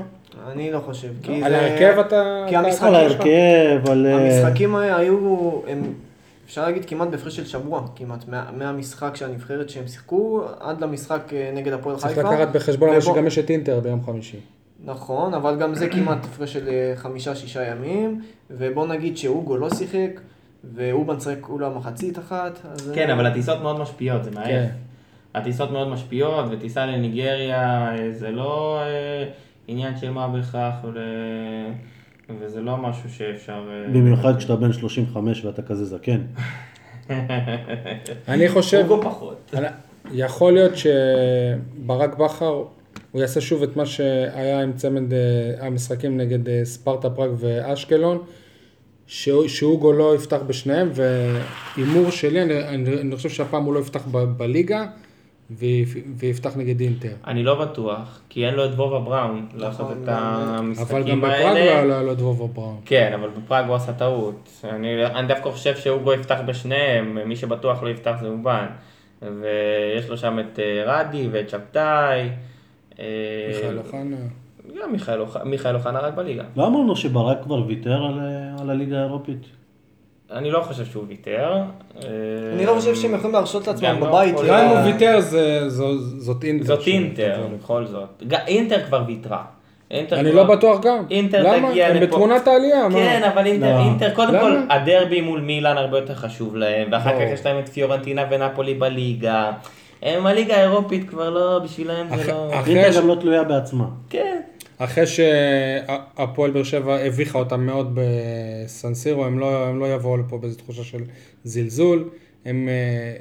[SPEAKER 2] אני לא חושב, כי
[SPEAKER 4] על
[SPEAKER 2] זה-
[SPEAKER 4] ההרכב אתה...
[SPEAKER 2] כי המשחק-
[SPEAKER 3] על ההרכב, על... אה,
[SPEAKER 2] המשחקים ה- היו, הם, אפשר להגיד כמעט בהפרש של שבוע, כמעט, מה- מהמשחק של הנבחרת שהם שיחקו, עד למשחק אה, נגד הפועל חיפה.
[SPEAKER 4] צריך לקחת בחשבון אבל
[SPEAKER 2] ובוא-
[SPEAKER 4] שגם יש את אינטר ביום חמישי.
[SPEAKER 2] נכון, אבל גם זה כמעט הפרש של אה, חמישה-שישה ימים, ובוא נגיד שהוגו לא שיחק, ואובן שיחק כולה לא מחצית אחת, אז... אה,
[SPEAKER 5] כן, אבל הטיסות מאוד משפיעות, זה מעייף.
[SPEAKER 4] כן.
[SPEAKER 5] הטיסות מאוד משפיעות, וטיסה לניגריה אה, זה לא אה, עניין של מה בהכרח, ול- וזה לא משהו שאפשר... אה,
[SPEAKER 3] במיוחד כשאתה בן 35 ואתה כזה זקן.
[SPEAKER 4] אני חושב,
[SPEAKER 5] הוא גם פחות.
[SPEAKER 4] אני- יכול להיות שברק בכר, הוא יעשה שוב את מה שהיה עם צמד אה, המשחקים נגד אה, ספרטה פראג ואשקלון, שהוא- שהוגו לא יפתח בשניהם, והימור שלי, אני, אני, אני חושב שהפעם הוא לא יפתח ב, בליגה, ויפ- ויפתח נגד אינטר.
[SPEAKER 5] אני לא בטוח, כי אין לו את וובה בראון לעשות
[SPEAKER 2] נכון,
[SPEAKER 5] את
[SPEAKER 4] אבל גם
[SPEAKER 5] המשחקים
[SPEAKER 4] בפראג לא היה
[SPEAKER 5] האלה.
[SPEAKER 4] לו- היה לו את וובה בראון.
[SPEAKER 5] כן, אבל בפראג הוא עשה טעות. אני, אני דווקא חושב שהוגו יפתח בשניהם, מי שבטוח לא יפתח זה אובן. ויש לו שם את אה, רדי ואת שבתאי. אה,
[SPEAKER 4] מיכאל נכון? אוחנה.
[SPEAKER 5] גם מיכאל אוח- מיכאל אוחנה רק בליגה.
[SPEAKER 3] לא אמרנו שברק כבר ויתר על, אה, על הליגה האירופית?
[SPEAKER 5] אני לא חושב שהוא ויתר. אה,
[SPEAKER 2] אני לא חושב שהם יכולים להרשות לעצמם בבית.
[SPEAKER 5] יכול-
[SPEAKER 4] גם אם הוא
[SPEAKER 2] אה,
[SPEAKER 4] ויתר, זה- זו- זאת אינטר.
[SPEAKER 5] זאת
[SPEAKER 4] שהיא
[SPEAKER 5] אינטר,
[SPEAKER 4] תבוא לפה.
[SPEAKER 5] בכל זאת. ג- אינטר כבר ויתרה. אינטר
[SPEAKER 4] אני
[SPEAKER 5] כבר-
[SPEAKER 4] לא בטוח גם.
[SPEAKER 5] אינטר
[SPEAKER 4] למה?
[SPEAKER 5] תגיע
[SPEAKER 4] הם
[SPEAKER 5] לפה.
[SPEAKER 4] בתמונת העלייה. מה?
[SPEAKER 5] כן, אבל אינטר,
[SPEAKER 3] לא.
[SPEAKER 5] אינטר, קודם
[SPEAKER 4] למה?
[SPEAKER 5] כל, הדרבי מול מילאן הרבה יותר חשוב להם, ואחר כך
[SPEAKER 4] ברור.
[SPEAKER 5] יש להם את פיורנטינה ונפולי בליגה. הם הליגה האירופית כבר לא, בשבילם זה
[SPEAKER 4] אחרי-
[SPEAKER 5] לא...
[SPEAKER 4] אחרי ש-
[SPEAKER 3] אינטר גם לא תלויה בעצמה.
[SPEAKER 5] כן.
[SPEAKER 4] אחרי שהפועל באר שבע הביכה אותם מאוד בסנסירו, הם לא, הם לא יבואו לפה באיזו תחושה של זלזול. הם, אה,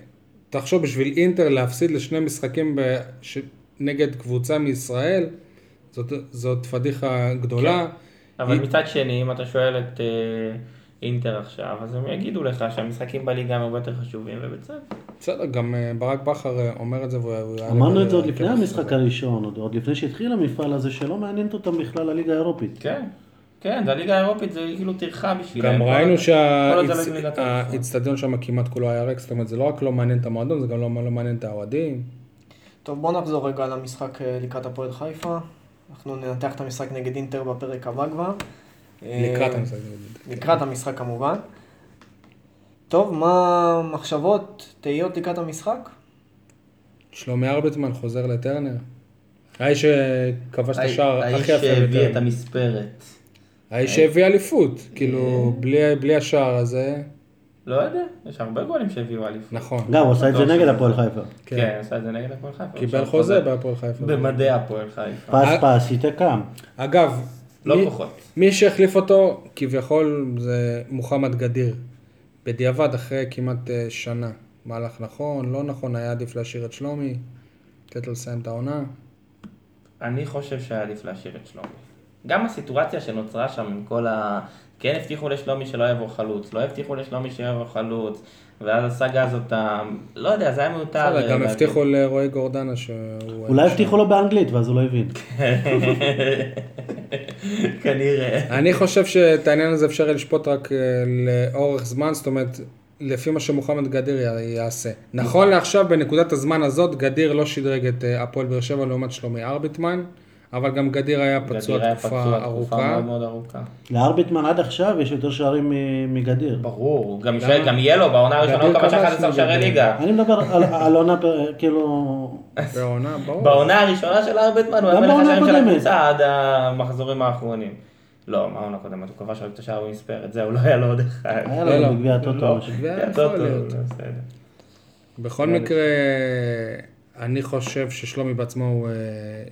[SPEAKER 4] תחשוב, בשביל אינטר להפסיד לשני משחקים ב, ש, נגד קבוצה מישראל, זאת, זאת פדיחה גדולה.
[SPEAKER 5] אבל מצד שני, אם אתה שואל את אה, אינטר עכשיו, אז הם יגידו לך שהמשחקים בליגה הם הרבה יותר חשובים, ובצדק.
[SPEAKER 4] בסדר, גם אה, ברק בכר אה, אומר את זה. והוא- הוא היה
[SPEAKER 3] אמרנו
[SPEAKER 4] לבד,
[SPEAKER 3] את זה עוד
[SPEAKER 4] אה,
[SPEAKER 3] לפני
[SPEAKER 4] כן,
[SPEAKER 3] המשחק
[SPEAKER 4] זה.
[SPEAKER 3] הראשון, עוד- עוד לפני שהתחיל המפעל הזה, שלא מעניינת אותם בכלל הליגה האירופית.
[SPEAKER 5] כן, כן, זה הליגה האירופית, זה כאילו טרחה בשבילם.
[SPEAKER 4] גם
[SPEAKER 5] כל
[SPEAKER 4] ראינו
[SPEAKER 5] עוד- כל עוד זה לא בליגת האלופות.
[SPEAKER 4] שהאיצטדיון שם כמעט כולו היה ריק, זאת אומרת, זה לא רק לא מעניין את המועדון, זה גם לא לא מעניין את האוהדים.
[SPEAKER 2] טוב, בוא נחזור רגע למשחק אה, לקראת הפועל חיפה. אנחנו ננתח את המשחק נגד אינטר בפרק הבא כבר. אה,
[SPEAKER 4] לקראת המשחק.
[SPEAKER 2] לקראת המשחק כמובן. טוב, מה מחשבות, תהיות לקראת המשחק?
[SPEAKER 4] שלומי ארביטמן חוזר לטרנר. האיש שכבש את השער
[SPEAKER 5] האיש
[SPEAKER 4] הכי יפה
[SPEAKER 5] שהביא את
[SPEAKER 4] בטרנר.
[SPEAKER 5] המספרת.
[SPEAKER 4] האיש שהביא אליפות. כאילו,
[SPEAKER 5] אה.
[SPEAKER 4] בלי- בלי השער הזה,
[SPEAKER 5] לא יודע, יש הרבה גולים שהביאו אליפות.
[SPEAKER 4] נכון.
[SPEAKER 3] גם, הוא עשה את זה
[SPEAKER 5] בטוח
[SPEAKER 3] נגד
[SPEAKER 5] שזה
[SPEAKER 3] הפועל חיפה.
[SPEAKER 4] כן.
[SPEAKER 5] כן, עשה את זה נגד הפועל חיפה.
[SPEAKER 4] קיבל
[SPEAKER 5] עכשיו
[SPEAKER 4] חוזה בהפועל חיפה.
[SPEAKER 5] במדעי הפועל חיפה.
[SPEAKER 3] פס
[SPEAKER 4] אה?
[SPEAKER 3] פס, התעקם.
[SPEAKER 4] אגב,
[SPEAKER 5] לא
[SPEAKER 4] מי-
[SPEAKER 5] כוחות.
[SPEAKER 4] מי שהחליף אותו, כביכול, זה מוחמד גדיר. בדיעבד, אחרי כמעט אה, שנה. מהלך נכון, לא נכון, היה עדיף להשאיר את שלומי, לתת לו לסיים את העונה.
[SPEAKER 5] אני חושב שהיה עדיף להשאיר את שלומי. גם הסיטואציה שנוצרה שם עם כל ה... כן הבטיחו לשלומי שלא יבוא חלוץ, לא הבטיחו לשלומי שיבוא חלוץ, ואז הסאגה הזאת, ה- לא יודע, זה היה מיותר.
[SPEAKER 4] בסדר, גם
[SPEAKER 5] להגיד.
[SPEAKER 4] הבטיחו לרועי גורדנה שהוא...
[SPEAKER 3] אולי הבטיחו
[SPEAKER 4] אה.
[SPEAKER 3] לו באנגלית, ואז הוא לא הבין.
[SPEAKER 4] כן.
[SPEAKER 5] כנראה.
[SPEAKER 4] אני חושב שאת העניין הזה אפשר לשפוט רק אה, לאורך זמן, זאת אומרת, לפי מה שמוחמד גדיר י- יעשה. נכון לעכשיו, בנקודת הזמן הזאת, גדיר לא שדרג את אה, הפועל באר שבע לעומת שלומי ארביטמן, אבל גם גדיר היה פצוע
[SPEAKER 5] גדיר היה פצוע
[SPEAKER 4] תקופה
[SPEAKER 5] תקופה
[SPEAKER 4] ארוכה.
[SPEAKER 5] מאוד מאוד ארוכה.
[SPEAKER 3] לארביטמן עד עכשיו יש יותר שערים מ- מגדיר.
[SPEAKER 5] ברור, גם יישאר- גם יהיה לו, בעונה הראשונה הוא
[SPEAKER 4] גדיר
[SPEAKER 5] כבש
[SPEAKER 4] כבש
[SPEAKER 5] 11 שערי
[SPEAKER 4] נגד-
[SPEAKER 5] ליגה.
[SPEAKER 3] אני מדבר על על עונה, פ- כאילו...
[SPEAKER 4] אה, בעונה, ברור.
[SPEAKER 5] בעונה הראשונה של ארבטמן הוא
[SPEAKER 3] גם
[SPEAKER 5] היה מלך
[SPEAKER 3] בעונה
[SPEAKER 5] השערים של
[SPEAKER 3] הקודמת.
[SPEAKER 5] הקבוצה עד המחזורים האחרונים. לא, מה העונה הקודמת? הוא כבש רק את השער במספרת, זהו, לא היה לו עוד אחד.
[SPEAKER 3] היה
[SPEAKER 4] לא, לא.
[SPEAKER 3] לנו בגביע הטוטו.
[SPEAKER 5] לא,
[SPEAKER 3] משהו.
[SPEAKER 4] גביע
[SPEAKER 5] כן,
[SPEAKER 4] יכול
[SPEAKER 5] טוטו,
[SPEAKER 4] להיות.
[SPEAKER 5] בסדר.
[SPEAKER 4] בכל מקרה, אני חושב ששלומי בעצמו הוא אה,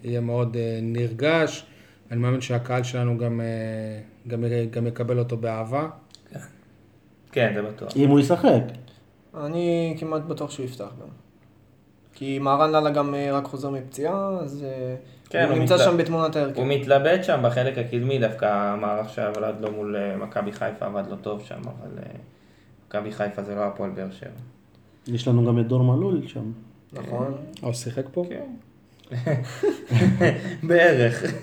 [SPEAKER 4] יהיה מאוד אה, נרגש. אני מאמין שהקהל שלנו גם, אה, גם, גם יקבל אותו באהבה.
[SPEAKER 5] כן, זה בטוח.
[SPEAKER 3] אם הוא ישחק.
[SPEAKER 2] אני כמעט בטוח שהוא יפתח גם. כי מהרן לאללה גם אה, רק חוזר מפציעה, אז אה,
[SPEAKER 5] כן,
[SPEAKER 2] הוא
[SPEAKER 5] הוא
[SPEAKER 2] נמצא
[SPEAKER 5] מתלבט.
[SPEAKER 2] שם בתמונת ההרכב.
[SPEAKER 5] הוא מתלבט שם בחלק הקדמי, דווקא המערך שעבד לו מול אה, מכבי חיפה עבד לו טוב שם, אבל אה, מכבי חיפה זה לא הפועל באר שבע.
[SPEAKER 3] יש לנו גם את דור מלול שם.
[SPEAKER 2] נכון.
[SPEAKER 4] אה, הוא שיחק פה?
[SPEAKER 5] כן. בערך.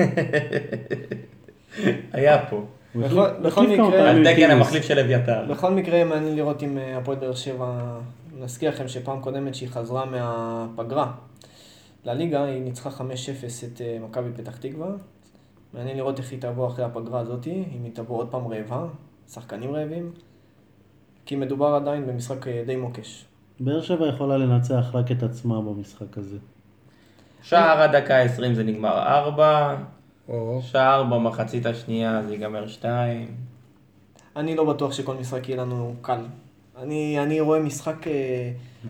[SPEAKER 5] היה פה.
[SPEAKER 3] הוא
[SPEAKER 2] בכל-
[SPEAKER 3] החליף-
[SPEAKER 2] בכל
[SPEAKER 3] החליף כמה
[SPEAKER 2] מקרה-
[SPEAKER 3] פעמים
[SPEAKER 5] על
[SPEAKER 3] את
[SPEAKER 5] תקן
[SPEAKER 3] אילוז.
[SPEAKER 5] המחליף של אביתר.
[SPEAKER 3] נכון.
[SPEAKER 2] בכל מקרה, מעניין לראות אם אה, הפועל באר שבע, נזכיר לכם שפעם קודמת שהיא חזרה מהפגרה לליגה, היא ניצחה 5-0 את אה, מכבי פתח תקווה. מעניין לראות איך היא תבוא אחרי הפגרה הזאת, אם היא תבוא עוד פעם רעבה, שחקנים רעבים, כי מדובר עדיין במשחק אה, די מוקש.
[SPEAKER 3] באר שבע יכולה לנצח רק את עצמה במשחק הזה.
[SPEAKER 5] שער הדקה 20 זה נגמר 4,
[SPEAKER 4] או...
[SPEAKER 5] שער במחצית השנייה זה ייגמר 2.
[SPEAKER 2] אני לא בטוח שכל משחק יהיה לנו קל. אני, אני רואה משחק אה,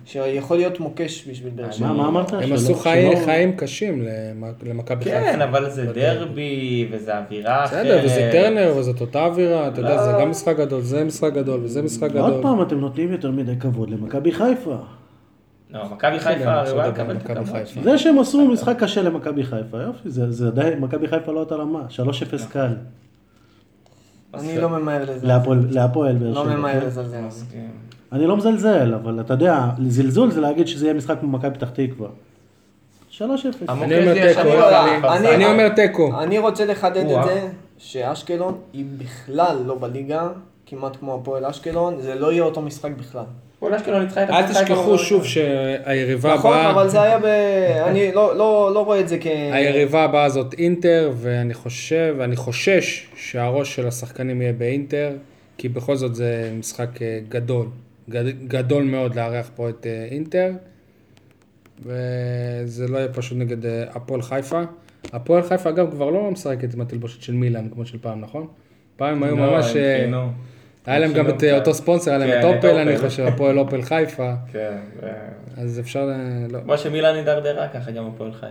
[SPEAKER 2] שיכול להיות מוקש בשביל באר שבע.
[SPEAKER 3] אה, מה מה אמרת?
[SPEAKER 4] הם
[SPEAKER 3] שלא-
[SPEAKER 4] עשו חיי-
[SPEAKER 3] שלא-
[SPEAKER 4] חיים קשים למ- למכבי חיפה.
[SPEAKER 5] כן, אבל זה
[SPEAKER 4] בדרך.
[SPEAKER 5] דרבי, וזה אווירה אחרת.
[SPEAKER 4] אוקיי. בסדר, וזה טרנר, וזאת אותה אווירה, אתה יודע,
[SPEAKER 5] לא.
[SPEAKER 4] זה גם משחק גדול, זה משחק גדול, וזה משחק גדול.
[SPEAKER 3] עוד פעם, אתם נותנים יותר מדי כבוד למכבי חיפה.
[SPEAKER 5] לא,
[SPEAKER 4] כן,
[SPEAKER 5] מכבי חיפה, אוקיי,
[SPEAKER 4] בסדר,
[SPEAKER 5] הרי וואלה, קבל את
[SPEAKER 4] מכבי
[SPEAKER 5] הכבוד.
[SPEAKER 4] חיפה.
[SPEAKER 3] זה שהם עשו משחק קשה למכבי חיפה, יופי, זה זה עדיין, מכבי חיפה לא אותה רמה, 3-0
[SPEAKER 2] לא.
[SPEAKER 3] קל.
[SPEAKER 2] אני לא ממהר לזה.
[SPEAKER 3] להפועל להפועל באר שבע.
[SPEAKER 2] לא ממהר לזלזל.
[SPEAKER 3] אני לא מזלזל, אבל אתה יודע, זלזול זה להגיד שזה יהיה משחק במכבי פתח תקווה. 3-0.
[SPEAKER 4] אני אומר
[SPEAKER 5] המוקד זה
[SPEAKER 4] תיקו,
[SPEAKER 5] ישר
[SPEAKER 4] אני-
[SPEAKER 5] מול
[SPEAKER 4] אני-
[SPEAKER 5] הפרסה.
[SPEAKER 4] אני אומר תיקו.
[SPEAKER 2] אני רוצה לחדד את
[SPEAKER 5] וואו.
[SPEAKER 2] זה, שאשקלון היא בכלל לא בליגה, כמעט כמו הפועל אשקלון, זה לא יהיה אותו משחק בכלל.
[SPEAKER 5] פעולה שלו ניצחה את
[SPEAKER 4] אל
[SPEAKER 5] הפועל חיפה
[SPEAKER 4] תשכחו
[SPEAKER 5] במובן
[SPEAKER 4] שוב
[SPEAKER 5] הזה.
[SPEAKER 4] שהיריבה
[SPEAKER 2] נכון,
[SPEAKER 4] הבאה,
[SPEAKER 2] אבל זה היה ב... אני לא- לא לא רואה את זה כ...
[SPEAKER 4] היריבה הבאה זאת אינטר, ואני חושב, אני חושש שהראש של השחקנים יהיה באינטר, כי בכל זאת זה משחק אה, גדול, גד- גדול מאוד לארח פה את אה, אינטר, וזה לא יהיה פשוט נגד אה, הפועל חיפה. הפועל חיפה אגב כבר לא משחקת עם התלבושת של מילאן כמו של פעם, נכון? פעם הם היו
[SPEAKER 5] לא,
[SPEAKER 4] ממש...
[SPEAKER 5] הם
[SPEAKER 4] אה,
[SPEAKER 5] שינו.
[SPEAKER 4] היה להם גם את אה, אותו ספונסר, היה
[SPEAKER 5] כן,
[SPEAKER 4] להם את
[SPEAKER 5] את
[SPEAKER 4] אופל,
[SPEAKER 5] אופל.
[SPEAKER 4] אני חושב, הפועל אופל חיפה,
[SPEAKER 5] כן, זה-
[SPEAKER 4] אז אפשר... אה, לא.
[SPEAKER 5] כמו שמילן הידרדרה, ככה גם הפועל חיפה.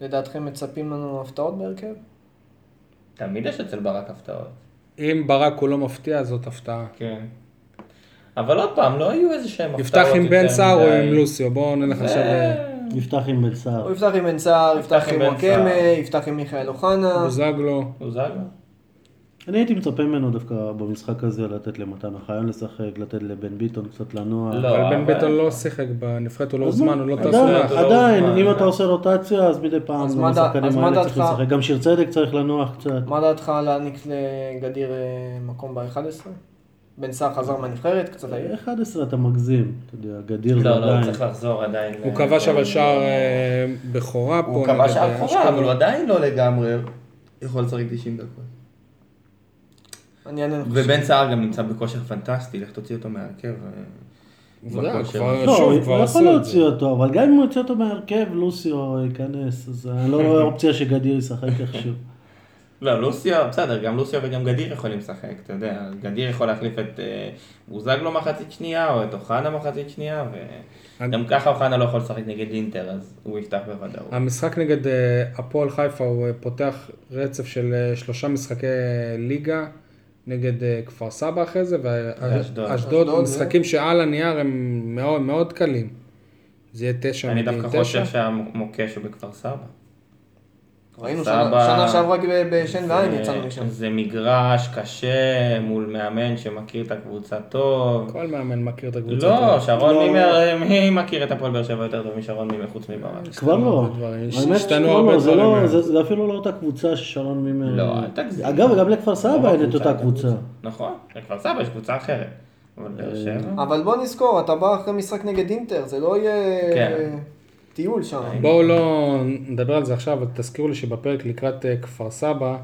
[SPEAKER 2] לדעתכם מצפים לנו הפתעות בהרכב?
[SPEAKER 5] תמיד יש אצל ברק הפתעות.
[SPEAKER 4] אם ברק הוא לא מפתיע, זאת הפתעה.
[SPEAKER 5] כן. אבל עוד פעם, לא היו איזה שהם הפתעות.
[SPEAKER 4] יפתח עם בן
[SPEAKER 5] יותר
[SPEAKER 4] סער או
[SPEAKER 5] מדי.
[SPEAKER 4] עם לוסיו, בואו נלך
[SPEAKER 5] זה-
[SPEAKER 4] עכשיו... אה,
[SPEAKER 3] נפתח עם בן סער.
[SPEAKER 2] הוא יפתח עם בן סער, יפתח
[SPEAKER 5] עם
[SPEAKER 2] עם
[SPEAKER 5] בן
[SPEAKER 2] וואקמה,
[SPEAKER 5] סער.
[SPEAKER 2] יפתח עם מיכאל אוחנה.
[SPEAKER 4] בוזגלו.
[SPEAKER 5] בוזגלו?
[SPEAKER 3] אני הייתי מצפה ממנו דווקא במשחק הזה לתת למתן אוחיון לשחק, לתת לבן ביטון קצת לנוע.
[SPEAKER 5] לא,
[SPEAKER 4] אבל בן
[SPEAKER 5] אבל-
[SPEAKER 4] ביטון לא שיחק בנבחרת, הוא לא
[SPEAKER 3] אז מה?
[SPEAKER 4] הוזמן, הוא לא
[SPEAKER 3] עדיין-
[SPEAKER 4] תעשונח.
[SPEAKER 3] עדיין,
[SPEAKER 5] הוא לא
[SPEAKER 3] אם
[SPEAKER 5] הוזמן.
[SPEAKER 3] אתה עושה רוטציה, אז מדי פעם
[SPEAKER 2] אז מה דע- אז
[SPEAKER 3] השחקנים
[SPEAKER 2] מה
[SPEAKER 3] האלה
[SPEAKER 2] דעתך?
[SPEAKER 3] צריכים לשחק. גם שיר צדק צריך לנוח קצת.
[SPEAKER 2] מה דעתך להעניק לגדיר אה, מקום ב-11? בן סער חזר מהנבחרת, קצת העיר.
[SPEAKER 3] 11 אתה מגזים, אתה יודע, גדיר זה
[SPEAKER 5] לא, לא, הוא
[SPEAKER 3] עדיין.
[SPEAKER 5] צריך לחזור עדיין.
[SPEAKER 4] הוא
[SPEAKER 5] ל-
[SPEAKER 4] כבש אבל שער אה, בכורה פה.
[SPEAKER 5] הוא כבש
[SPEAKER 4] נגד אה,
[SPEAKER 5] שער חורה,
[SPEAKER 4] אשקלון.
[SPEAKER 5] אבל הוא עדיין לא לגמרי יכול לשחק 90 דקות.
[SPEAKER 2] אני אענה לך.
[SPEAKER 5] ובן סער גם נמצא בכושר פנטסטי, לך תוציא אותו מהרכב. אה,
[SPEAKER 4] אתה יודע,
[SPEAKER 5] בכושר.
[SPEAKER 4] כבר-
[SPEAKER 3] לא,
[SPEAKER 4] שוב,
[SPEAKER 3] הוא
[SPEAKER 4] כבר
[SPEAKER 3] הוא
[SPEAKER 4] עשו
[SPEAKER 3] יכול
[SPEAKER 4] את
[SPEAKER 3] להוציא
[SPEAKER 4] זה.
[SPEAKER 3] אותו, אבל גם אם הוא יוציא אותו מהרכב, לוסיו ייכנס, אז אני לא רואה אופציה שגדיר ישחק איכשהו.
[SPEAKER 5] לא, לוסיו, בסדר, גם לוסיו וגם גדיר יכולים לשחק, אתה יודע, גדיר יכול להחליף את אה, בוזגלו מחצית שנייה, או את אוחנה מחצית שנייה, וגם ככה אוחנה לא יכול לשחק נגד אינטר, אז הוא יפתח בוודאות.
[SPEAKER 4] המשחק נגד אה, הפועל חיפה הוא אה, פותח רצף של אה, שלושה משחקי אה, ליגה נגד אה, כפר סבא אחרי זה,
[SPEAKER 5] ואשדוד.
[SPEAKER 4] ואשדוד,
[SPEAKER 3] אה.
[SPEAKER 4] משחקים שעל הנייר הם מאוד מאוד קלים. זה יהיה תשע
[SPEAKER 5] אני
[SPEAKER 4] נגד
[SPEAKER 5] דווקא
[SPEAKER 4] תשע.
[SPEAKER 5] חושב שהמוקש הוא בכפר סבא.
[SPEAKER 2] ראינו
[SPEAKER 5] סבא.
[SPEAKER 2] שנה שנה שעברה ב- בשן
[SPEAKER 4] לא
[SPEAKER 2] ועין
[SPEAKER 5] זה- כן.
[SPEAKER 2] יצאנו משם.
[SPEAKER 5] זה מגרש קשה מול מאמן שמכיר את הקבוצה טוב.
[SPEAKER 4] כל מאמן מכיר את הקבוצה.
[SPEAKER 5] לא, שרון מימר, מי מכיר את הפועל באר שבע יותר טוב משרון מימר חוץ מברק?
[SPEAKER 3] כבר לא.
[SPEAKER 4] הרבה דברים.
[SPEAKER 3] האמת
[SPEAKER 4] השתנו
[SPEAKER 3] שכבר
[SPEAKER 4] הרבה
[SPEAKER 3] לא, זה
[SPEAKER 4] דברים
[SPEAKER 3] לא,
[SPEAKER 4] מאז.
[SPEAKER 3] זה זה אפילו לא אותה קבוצה ששרון מימר...
[SPEAKER 5] לא, אל תגזים. לא,
[SPEAKER 3] אגב, גם לכפר
[SPEAKER 4] לא,
[SPEAKER 3] סבא אין את אותה קבוצה.
[SPEAKER 5] נכון, לכפר סבא יש קבוצה אחרת. אבל
[SPEAKER 4] אה,
[SPEAKER 5] באר שבע...
[SPEAKER 2] אבל בוא נזכור, אתה בא אחרי משחק נגד אינטר, זה לא יהיה
[SPEAKER 5] כן.
[SPEAKER 2] טיול שם.
[SPEAKER 4] בואו לא נדבר על זה עכשיו, אבל תזכירו לי שבפרק לקראת אה, כפר סבא,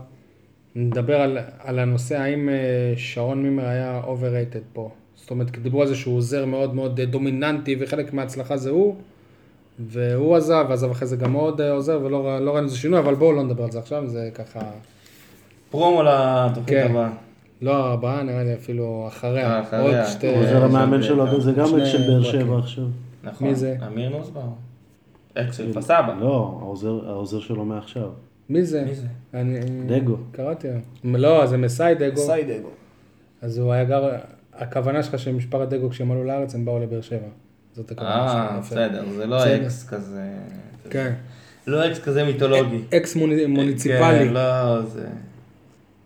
[SPEAKER 4] נדבר על, על הנושא האם אה, שרון מימר היה overrated פה. זאת אומרת, כי דיברו על זה שהוא עוזר מאוד מאוד אה, דומיננטי, וחלק מההצלחה זה הוא, והוא עזב, ועזב אחרי זה גם עוד אה, עוזר, ולא ר- לא ראינו איזה שינוי, אבל בואו לא נדבר על זה עכשיו, זה ככה...
[SPEAKER 5] פרומו לתוכנית
[SPEAKER 4] כן.
[SPEAKER 5] הבאה.
[SPEAKER 4] לא הבאה, נראה לי אפילו אחריה.
[SPEAKER 5] אה, אחריה.
[SPEAKER 4] עוד שתי...
[SPEAKER 5] הוא
[SPEAKER 3] הוא עוזר
[SPEAKER 5] אה,
[SPEAKER 3] המאמן
[SPEAKER 5] זה-
[SPEAKER 3] שלו, זה גם
[SPEAKER 4] שני
[SPEAKER 3] את של באר
[SPEAKER 4] ברקים.
[SPEAKER 3] שבע עכשיו.
[SPEAKER 5] נכון.
[SPEAKER 4] מי זה?
[SPEAKER 5] אמיר נוסבאום. אקס של כפר סבא.
[SPEAKER 3] לא, העוזר- העוזר שלו מעכשיו.
[SPEAKER 4] מי זה?
[SPEAKER 5] מי זה?
[SPEAKER 4] אני...
[SPEAKER 3] דגו.
[SPEAKER 4] קראתי. לא, זה מסאי דגו.
[SPEAKER 2] סיידגו.
[SPEAKER 4] אז הוא היה גר, הכוונה שלך שמשפחת דגו כשהם עלו לארץ הם באו לבאר שבע. זאת הכוונה שלך.
[SPEAKER 5] אה,
[SPEAKER 4] יפה.
[SPEAKER 5] בסדר, זה לא
[SPEAKER 4] בסדר.
[SPEAKER 5] אקס כזה...
[SPEAKER 4] כן.
[SPEAKER 5] לא אקס כזה מיתולוגי.
[SPEAKER 4] אקס מוני- מוניציפלי.
[SPEAKER 5] כן, לא, זה...